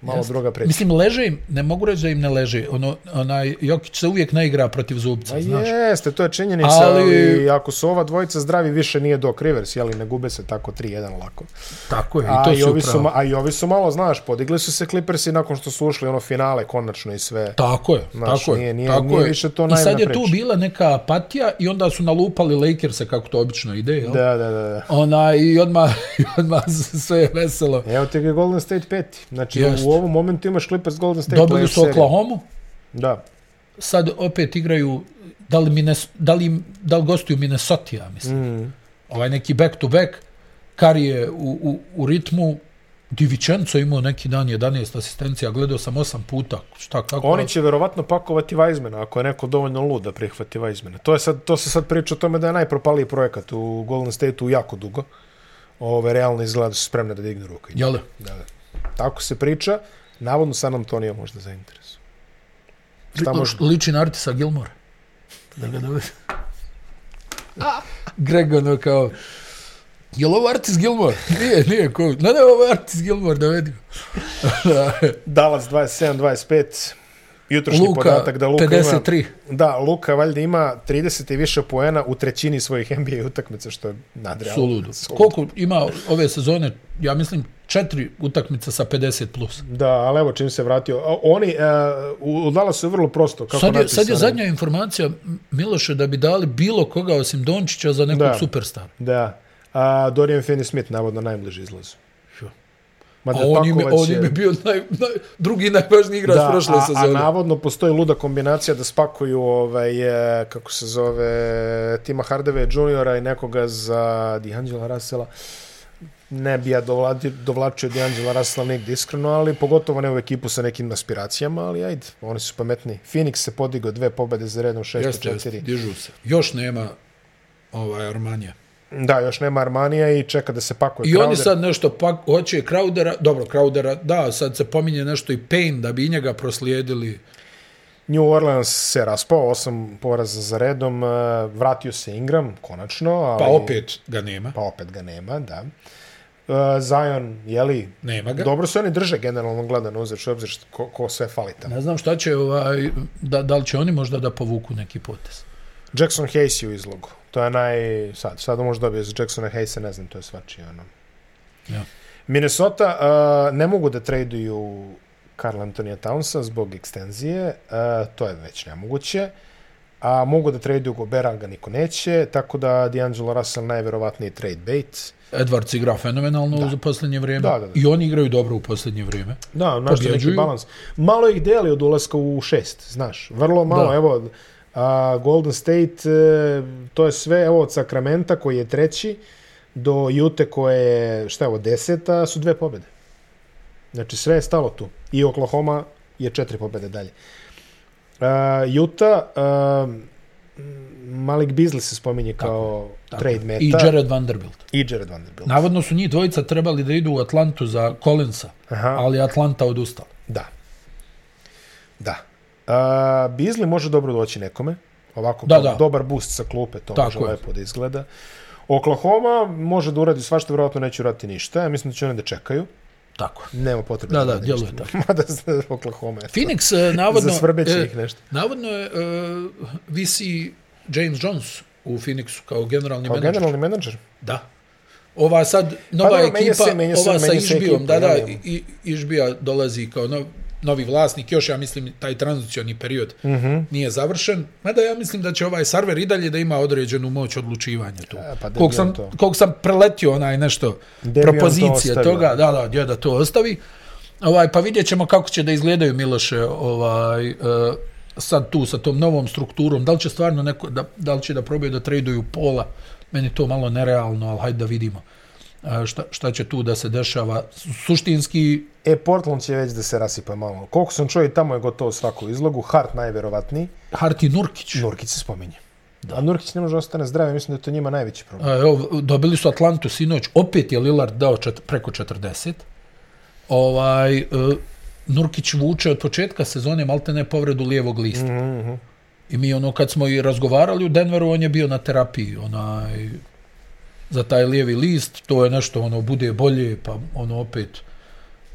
A: malo
B: Jeste.
A: druga priča.
B: Mislim, leže im, ne mogu reći da im ne leže. Ono, onaj, Jokić se uvijek ne igra protiv zubca,
A: Pa
B: znaš.
A: jeste, to je činjenica, ali...
B: Ali-
A: ako su ova dvojica zdravi, više nije Doc Rivers, jeli ne gube se tako 3-1 lako.
B: Tako je, i
A: A
B: to
A: i,
B: su
A: ovi su,
B: upravo.
A: ma- a i ovi su malo, znaš, podigli su se Clippersi nakon što su ušli ono finale konačno i sve.
B: Tako je,
A: Znaš,
B: tako je.
A: nije- nije-
B: tako
A: nije
B: je.
A: više to
B: I sad
A: naivna
B: je tu
A: priča.
B: bila neka apatija i onda su nalupali Lakerse kako to obično ide, jel?
A: Da, da, da. da.
B: Ona, i odmah, i odmah sve je veselo.
A: Evo ti ga Golden State peti. Znači
B: Jeste.
A: u ovom momentu imaš Clippers Golden State
B: Dobili
A: playoff
B: su
A: seriju.
B: Oklahoma,
A: Da.
B: sad opet igraju, da li, Mines, da li, im- da li gostuju Minnesota, ja mislim.
A: Mm.
B: ovaj neki back to back, Kari je u, u, u ritmu, Di Vicenzo imao neki dan 11 asistencija, gledao sam 8 puta, šta kako.
A: Oni će verovatno pakovati Weizmana ako je neko dovoljno lud da prihvati Weizmana. To, je sad, to se sad priča o tome da je najpropaliji projekat u Golden State-u jako dugo. Ove, realno izgleda da su spremne da dignu ruke.
B: Jele,
A: Da, da. Tako se priča. Navodno San Antonio možda zainteresuje. Šta
B: li,
A: može?
B: liči na Artisa Gilmore. Da ga dovede. Greg ono kao, je li ovo Artis Gilmore? Nije, nije, ko, no ne, ovo je Artis Gilmore, dovedi.
A: Dallas 27-25. Jutrošnji
B: Luka,
A: podatak da Luka
B: 53.
A: ima... Da, Luka valjda ima 30 i više poena u trećini svojih NBA utakmica, što je nadrealno.
B: Suludo. Koliko ima ove sezone, ja mislim, četiri utakmice sa 50 plus.
A: Da, ali evo čim se vratio. A, Oni, uh, u Dallasu je vrlo prosto. Kako
B: Sad je, sad je
A: napisano.
B: zadnja informacija, M- Miloše, da bi dali bilo koga osim Dončića za nekog
A: Da.
B: superstara.
A: Da. A Dorian Finney-Smith navodno najbliži izlaz.
B: Jo.
A: Mada
B: A on im, je-
A: Pakovac
B: on im
A: je-
B: je bio naj, naj, drugi najvažniji igrač
A: da,
B: prošle
A: a, a
B: sezone.
A: navodno postoji luda kombinacija da spakuju ovaj, e, kako se zove Tima Hardeve juniora i nekoga za D'Angela Russella ne bi ja dovladi, dovlačio D'Angela Russella negdje iskreno, ali pogotovo ne u ekipu sa nekim aspiracijama, ali ajde, oni su pametni. Phoenix se podigao dve pobede za redom,
B: Jeste, jeste,
A: 6-4.
B: dižu se. Još nema ovaj Armanija.
A: Da, još nema Armanija i čeka da se pakuje
B: I
A: Crowder.
B: oni sad nešto pak, hoće Crowdera, dobro, Crowdera, da, sad se pominje nešto i Payne da bi i njega proslijedili.
A: New Orleans se raspao, osam poraza za redom, e, vratio se Ingram, konačno. Ali,
B: Pa opet ga nema.
A: Pa opet ga nema, da. E, Zion, jeli,
B: Nema ga.
A: dobro se oni drže generalno gledano, uzreći obzir što- ko, ko sve fali tamo.
B: Ne znam šta će, ovaj, da, da li će oni možda da povuku neki potez.
A: Jackson Hayes je u izlogu. To je naj... Sad, sad možeš dobiti za Jacksona Hayesa, ne znam, to je svačije ono.
B: Ja.
A: Minnesota uh, ne mogu da traduju Karl Antonija Townsa zbog ekstenzije, uh, to je već nemoguće. A mogu da traduju Gobera, ali ga niko neće, tako da D'Angelo Russell najverovatniji trade bait.
B: Edwards igra fenomenalno u posljednje vrijeme.
A: Da, da, da.
B: I oni igraju dobro u posljednje vrijeme.
A: Da, našto neki
B: Pobjeđuju.
A: balans. Malo ih deli od ulaska u šest, znaš. Vrlo malo,
B: Da.
A: evo, a, Golden State, e, to je sve, evo, od Sakramenta koji je treći, do Jute koje je, šta je ovo, deseta, su dve pobjede. Znači, sve je stalo tu. I Oklahoma je četiri pobjede dalje. Uh, Utah, uh, Malik Beasley se spominje kao
B: Tako je.
A: trade meta.
B: I Jared Vanderbilt.
A: I Jared Vanderbilt.
B: Navodno su njih dvojica trebali da idu u Atlantu za Collinsa,
A: Aha.
B: ali je Atlanta odustala.
A: Da. Da. A, Beasley može dobro doći nekome. Ovako,
B: Da,
A: da,
B: da.
A: da. dobar boost sa klupe, to
B: Tako
A: može
B: je.
A: lepo da izgleda. Oklahoma može da uradi svašta, vjerojatno neće uraditi ništa. Ja mislim da će oni da čekaju.
B: Tako.
A: Nema potrebe
B: Da, da,
A: urade
B: djeluje
A: ništa.
B: tako.
A: Mada zna- Oklahoma je.
B: Phoenix, e, navodno...
A: Zasvrbeće
B: e,
A: ih nešto.
B: Navodno je uh, visi James Jones u Phoenixu kao generalni
A: Kao
B: menadžer.
A: Pa generalni menadžer.
B: Da. Ova sad, nova
A: Pa dobro,
B: ekipa,
A: menja se- menja se-
B: ova sa
A: menja se
B: Išbijom,
A: ekipa,
B: da, da,
A: jel?
B: i, Išbija dolazi kao nov, novi vlasnik, još ja mislim taj tranzicioni period mm
A: Mhm.
B: -hmm. nije završen, mada ja mislim da će ovaj server i dalje da ima određenu moć odlučivanja tu.
A: E, pa
B: koliko, sam,
A: Debian to.
B: koliko sam preletio onaj nešto,
A: Debian
B: propozicije
A: to
B: to
A: ostavio.
B: toga, da, da, gdje da to ostavi, ovaj, pa vidjet ćemo kako će da izgledaju Miloše ovaj, e, sad tu sa tom novom strukturom, da li će stvarno neko, da, da li će da probaju da traduju pola, meni je to malo nerealno, ali hajde da vidimo e, šta, šta će tu da se dešava. Su- Suštinski,
A: E, Portland će već da se rasipa malo. Koliko sam čuo i tamo je gotovo svaku izlogu. Hart najverovatniji.
B: Harti Nurkić,
A: Nurkić se spominje. Da. A Nurkić ne može da ostane zdrav, ja mislim da je to njima najveći problem.
B: E, Evo, dobili su Atlantu sinoć, opet je Lillard dao čet, preko 40. Ovaj, e, Nurkić vuče od početka sezone maltene povredu lijevog lista. Mm -hmm. I mi ono kad smo i razgovarali u Denveru, on je bio na terapiji onaj za taj lijevi list, to je nešto ono bude bolje, pa ono opet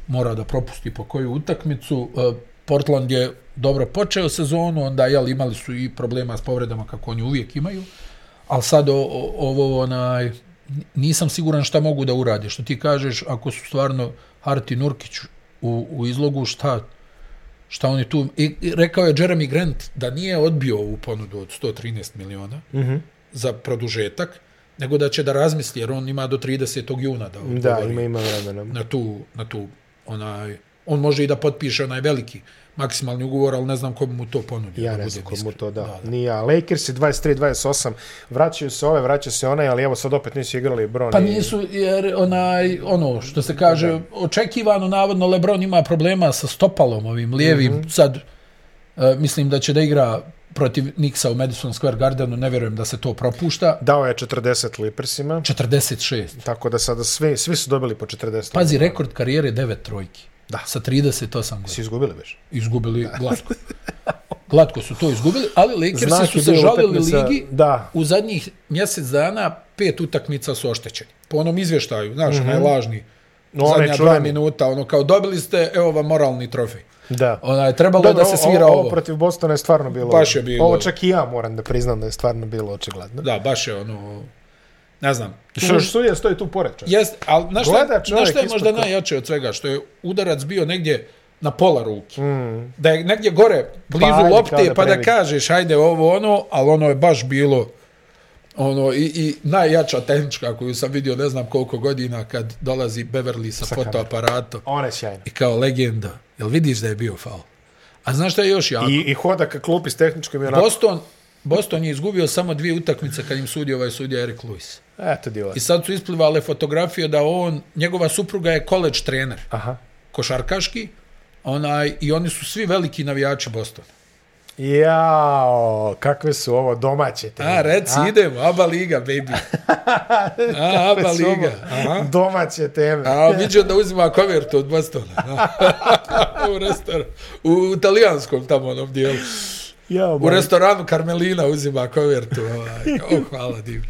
B: mora da propusti po koju utakmicu. E, Portland je dobro počeo sezonu, onda jel, imali su i problema s povredama kako oni uvijek imaju, ali sad o, o, ovo onaj, n- nisam siguran šta mogu da urade. Što ti kažeš, ako su stvarno Harti Nurkić u, u izlogu, šta, šta oni tu... I, i rekao je Jeremy Grant da nije odbio ovu ponudu od 113 miliona mm -hmm. za produžetak, nego da će da razmisli, jer on ima do 30. juna
A: Da,
B: da odgovori
A: ima, ima vremena.
B: na tu, na tu onaj, on može i da potpiše onaj veliki maksimalni ugovor, ali ne znam ko bi mu to ponudio.
A: Ja ne
B: da budem
A: znam komu
B: iskren.
A: to da. da, da. Nije, a Lakers je 23-28, vraćaju se ove, vraćaju se one, ali evo sad opet nisu igrali Bron.
B: Pa
A: i-
B: nisu, jer onaj, ono što se kaže, očekivano, navodno, Lebron ima problema sa stopalom ovim lijevim.
A: Mhm.
B: Mm -hmm. Sad, e, mislim da će da igra protiv Nixa u Madison Square Gardenu, ne vjerujem da se to propušta.
A: Dao je 40 Lakersima,
B: 46.
A: tako da sada svi, svi su dobili po 40.
B: Pazi, rekord karijere 9 trojki.
A: Da.
B: Sa 38 godina.
A: Svi izgubili već.
B: Izgubili glatko. Glatko su to izgubili, ali Lakersi
A: Znak
B: su
A: je
B: se
A: bio
B: žalili
A: utakmica-
B: ligi
A: da.
B: u zadnjih mjesec dana pet utakmica su oštećeni. Po onom izvještaju, znaš, mm -hmm. najlažni.
A: Mhm. No, onaj
B: Zadnja dva
A: čuveni.
B: minuta, ono kao dobili ste, evo vam moralni trofej.
A: Da.
B: Ona je trebalo
A: Dobro,
B: da se svira
A: ovo,
B: ovo.
A: ovo protiv Bostona je stvarno bilo.
B: Baš je bilo.
A: Ovo čak i ja moram da priznam da je stvarno bilo očigledno.
B: Da, baš je ono, ne znam.
A: Što što je stoji tu pored čak.
B: Jest, ali znaš šta,
A: Gleda čovjek
B: znaš šta je
A: ispod
B: možda
A: koša.
B: najjače od svega? Što je udarac bio negdje na pola ruke. Mm. Da je negdje gore, blizu
A: ajde, kao
B: lopte,
A: da
B: pa da
A: previdi.
B: kažeš, ajde ovo ono, ali ono je baš bilo ono i, i najjača tehnička koju sam vidio ne znam koliko godina kad dolazi Beverly sa, sa fotoaparatom
A: Ona je sjajna.
B: i kao legenda. Jel vidiš da je bio faul? A znaš šta je još jako?
A: I, i hoda ka klupi s tehničkom i onako.
B: Boston, Boston je izgubio samo dvije utakmice kad im sudio ovaj sudija Eric Lewis.
A: Eto divo.
B: I sad su isplivale fotografije da on, njegova supruga je college trener,
A: Aha.
B: košarkaški, onaj, i oni su svi veliki navijači Bostona.
A: Jao, kakve su ovo domaće te.
B: A, reci, A? idemo, ABA liga, baby. A, ABA
A: Kakve su ovo
B: liga. Aha.
A: Domaće teme.
B: A vidio da uzima kovertu od Bostona. da. u restoran. U italijanskom tamo onom dijelu.
A: Jao,
B: U
A: moj.
B: restoranu Karmelina uzima kovertu. Ovaj. Oh, hvala divno.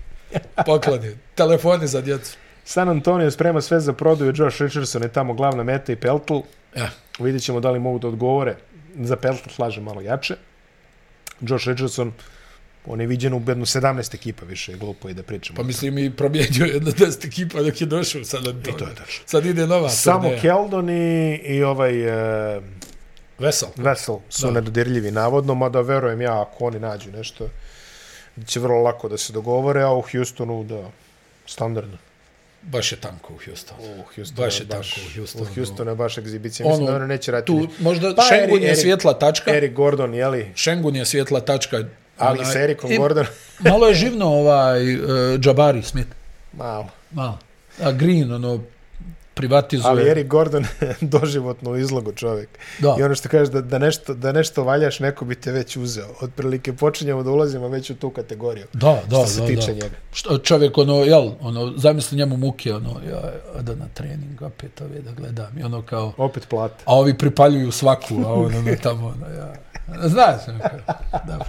B: Pokloni. Telefoni za djecu.
A: San Antonio sprema sve za prodaju. Josh Richardson je tamo glavna meta i Peltl.
B: Ja.
A: Vidjet ćemo da li mogu da odgovore. Za Peltl slaže malo jače. Josh Richardson, on je viđen u jednu 17 ekipa više, glupo je da pričamo.
B: Pa mislim i promijenio jedno deset ekipa dok je došao sad Antonio.
A: I E, to je tačno.
B: Sad ide nova
A: Samo
B: turneja.
A: Keldon i, i ovaj e,
B: Vesel.
A: Vessel su da. nedodirljivi navodno, mada verujem ja ako oni nađu nešto da će vrlo lako da se dogovore, a u Houstonu da standardno.
B: Baš je tanko u Houstonu.
A: U Houstonu
B: Baš je tanko u Houstonu.
A: U Houstonu je baš egzibicija. Mislim da ono neće raditi.
B: Tu,
A: ni-
B: možda
A: Pa,
B: pa, Šengun
A: Eri-
B: je
A: Eri-
B: svjetla tačka.
A: Eric Gordon, jeli?
B: Šengun je svjetla tačka.
A: Ali
B: Onaj-
A: sa Ericom
B: i-
A: Gordonom.
B: malo je živno ovaj uh, Jabari Smith.
A: Malo.
B: Malo. A Green, ono, privatizuje.
A: Ali Eric Gordon doživotno u izlogu čovjek.
B: Da.
A: I ono što kažeš da, da, nešto, da nešto valjaš, neko bi te već uzeo. Otprilike počinjemo da ulazimo već u tu kategoriju.
B: Da, da,
A: što se
B: da,
A: tiče
B: da.
A: njega.
B: Što čovjek ono, jel, ono, zamisli njemu muke, ono, ja, da na trening opet ove da gledam i ono kao,
A: Opet plata.
B: a ovi pripaljuju svaku, a on ono tamo, ono, ja, znaš, ono kao, dobro.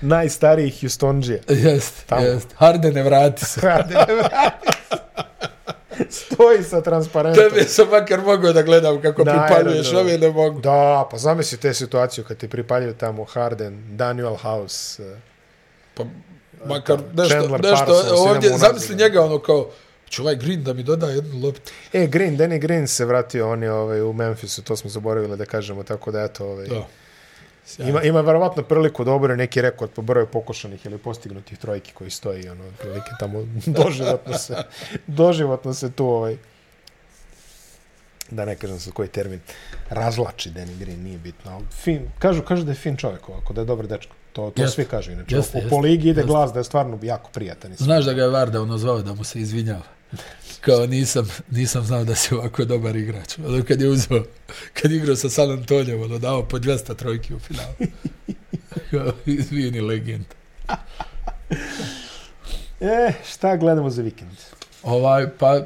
A: Najstariji Houstonđija.
B: Jest,
A: Tamo.
B: jest. Harden ne vrati se.
A: Rade, ne vrati se. Stoji sa transparentom.
B: Tebe sam makar mogao da gledam kako
A: Na
B: pripaljuješ,
A: aerodromu.
B: ove ne mogu.
A: Da, pa zamisli te situaciju kad ti pripaljuju tamo Harden, Daniel House. eh,
B: Pa, makar nešto,
A: Chandler
B: nešto
A: Parsons, idemo
B: ovdje,
A: u
B: zamisli
A: nazad.
B: njega ono kao, ću ovaj Green da mi doda jednu loptu.
A: E, Green, Danny Green se vratio, on je ovaj, u Memphisu, to smo zaboravili da kažemo, tako da eto, ovaj,
B: Da.
A: ima, ima verovatno priliku da obrne neki rekord po broju pokušanih ili postignutih trojki koji stoji, ono, otprilike tamo doživotno se, doživotno se tu, ovaj, da ne kažem sa koji termin, razlači Danny Green, nije bitno. ali Fin, kažu, kažu da je fin čovjek ovako, da je dobar dečko. To, to
B: Jeste.
A: svi kažu inače.
B: Jeste,
A: u, u
B: jeste,
A: poligi ide
B: jeste.
A: glas da je stvarno jako prijatan. i sve.
B: Znaš da ga je Varda ono zvao da mu se izvinjava. Kao nisam, nisam znao da si ovako dobar igrač. Ono kad je uzeo, kad je igrao sa San Antonijom, ono dao po 200 trojki u finalu. Kao, Izvini legend.
A: E, šta gledamo za vikend?
B: Ovaj, pa, e,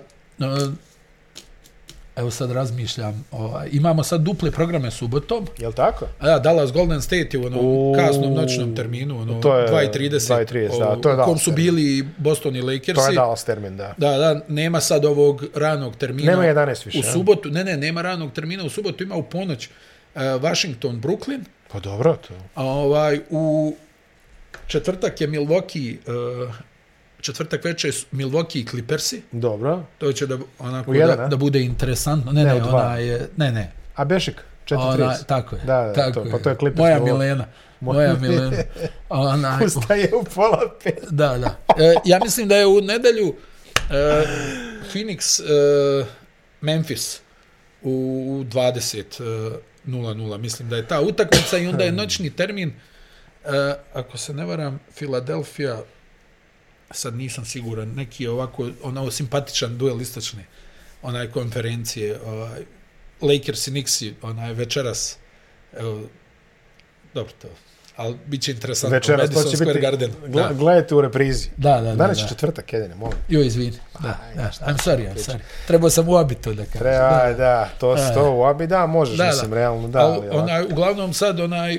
B: evo sad razmišljam, ovaj, imamo sad duple programe subotom,
A: Jel tako?
B: A da, Dallas Golden State je u onom
A: U,
B: kasnom noćnom terminu, ono
A: to je
B: 2.30,
A: 2:30, da,
B: o-
A: to je
B: u kom
A: Dallas
B: su
A: termin.
B: bili i Boston i Lakersi.
A: To je Dallas termin, da.
B: Da, da, nema sad ovog ranog termina.
A: Nema 11 više,
B: U
A: a?
B: subotu, ne, ne, nema ranog termina, u subotu ima u ponoć uh, Washington, Brooklyn,
A: Pa dobro, to.
B: a ovaj, u četvrtak je Milwaukee, uh, četvrtak večer je s- Milwaukee i Clippersi,
A: Dobro.
B: to će da, onako,
A: U jedan,
B: da,
A: a?
B: da bude interesantno. Ne,
A: Ne,
B: ne,
A: u
B: ne
A: dva.
B: ona je, ne, ne,
A: A Bešik, 4-3.
B: ona, tako je,
A: Da, da,
B: tako
A: to- pa to je Clippers
B: moja
A: Milwaukee.
B: Milena, moja
A: Moja-
B: Milena, ona,
A: Ustaje u pola pet.
B: Da, da. E, ja mislim da je u nedelju e, Phoenix e, Memphis u, u 20 e, 0-0. Mislim da je ta utakmica i onda je noćni termin e, ako se ne varam Filadelfija sad nisam siguran, neki je ovako onao simpatičan duel istočne onaj konferencije ovaj, Lakers i Knicksi onaj večeras evo, dobro to ali bit će interesantno
A: Večeras, to
B: Madison
A: će
B: Square
A: biti...
B: Garden. Da.
A: Gle- Gledajte u reprizi.
B: Da, da, da.
A: Danas
B: da.
A: je četvrtak, jedine, molim.
B: Jo, izvini. Da, da. I'm sorry, I'm sorry. Trebao sam u abitu da kažem.
A: Treba, da, da, to,
B: Da,
A: to, u abi, da, možeš,
B: Da, da.
A: mislim, realno, da,
B: Da,
A: ali,
B: onaj, uglavnom sad onaj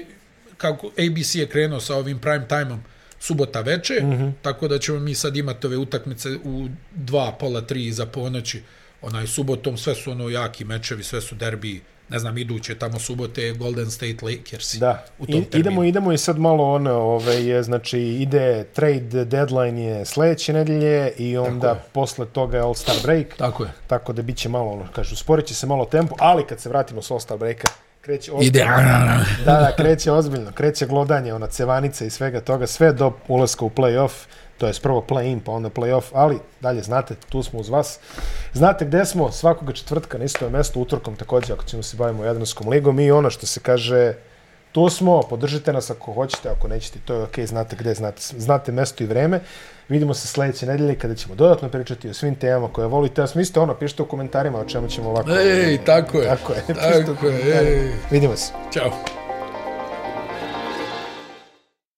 B: kako ABC je krenuo sa ovim prime time-om subota veče, mm
A: Mhm.
B: -hmm. tako da ćemo mi sad imati ove utakmice u dva, pola, tri za ponoći, onaj subotom, sve su ono jaki mečevi, sve su derbi, ne znam, iduće tamo subote Golden State Lakers.
A: Da,
B: u tom
A: I, idemo, idemo i sad malo ono, ove, je, znači ide trade deadline je sledeće nedelje i onda
B: je.
A: posle toga je All-Star break, tako.
B: Tako je.
A: tako da bit će malo, ono, kažu, sporit će se malo tempo, ali kad se vratimo s All-Star breaka, kreće ozbiljno,
B: Ide, a, a, a.
A: da, da, kreće ozbiljno, kreće glodanje, ona cevanica i svega toga, sve do ulaska u play-off, to je prvo play-in pa onda play-off, ali dalje znate, tu smo uz vas. Znate gde smo, svakoga četvrtka na istom mestu, utorkom također, ako ćemo se bavimo Jadranskom ligom i ono što se kaže, tu smo, podržite nas ako hoćete, ako nećete, to je okej, okay, znate gde, znate, znate mesto i vreme. Vidimo se sledeće nedelje kada ćemo dodatno pričati o svim temama koje volite. Ja sam isto ono, pišite u komentarima o čemu ćemo ovako.
B: Ej, tako je.
A: Tako je, pišite u
B: Tako je.
A: komentarima.
B: Ej.
A: Vidimo se.
B: Ćao.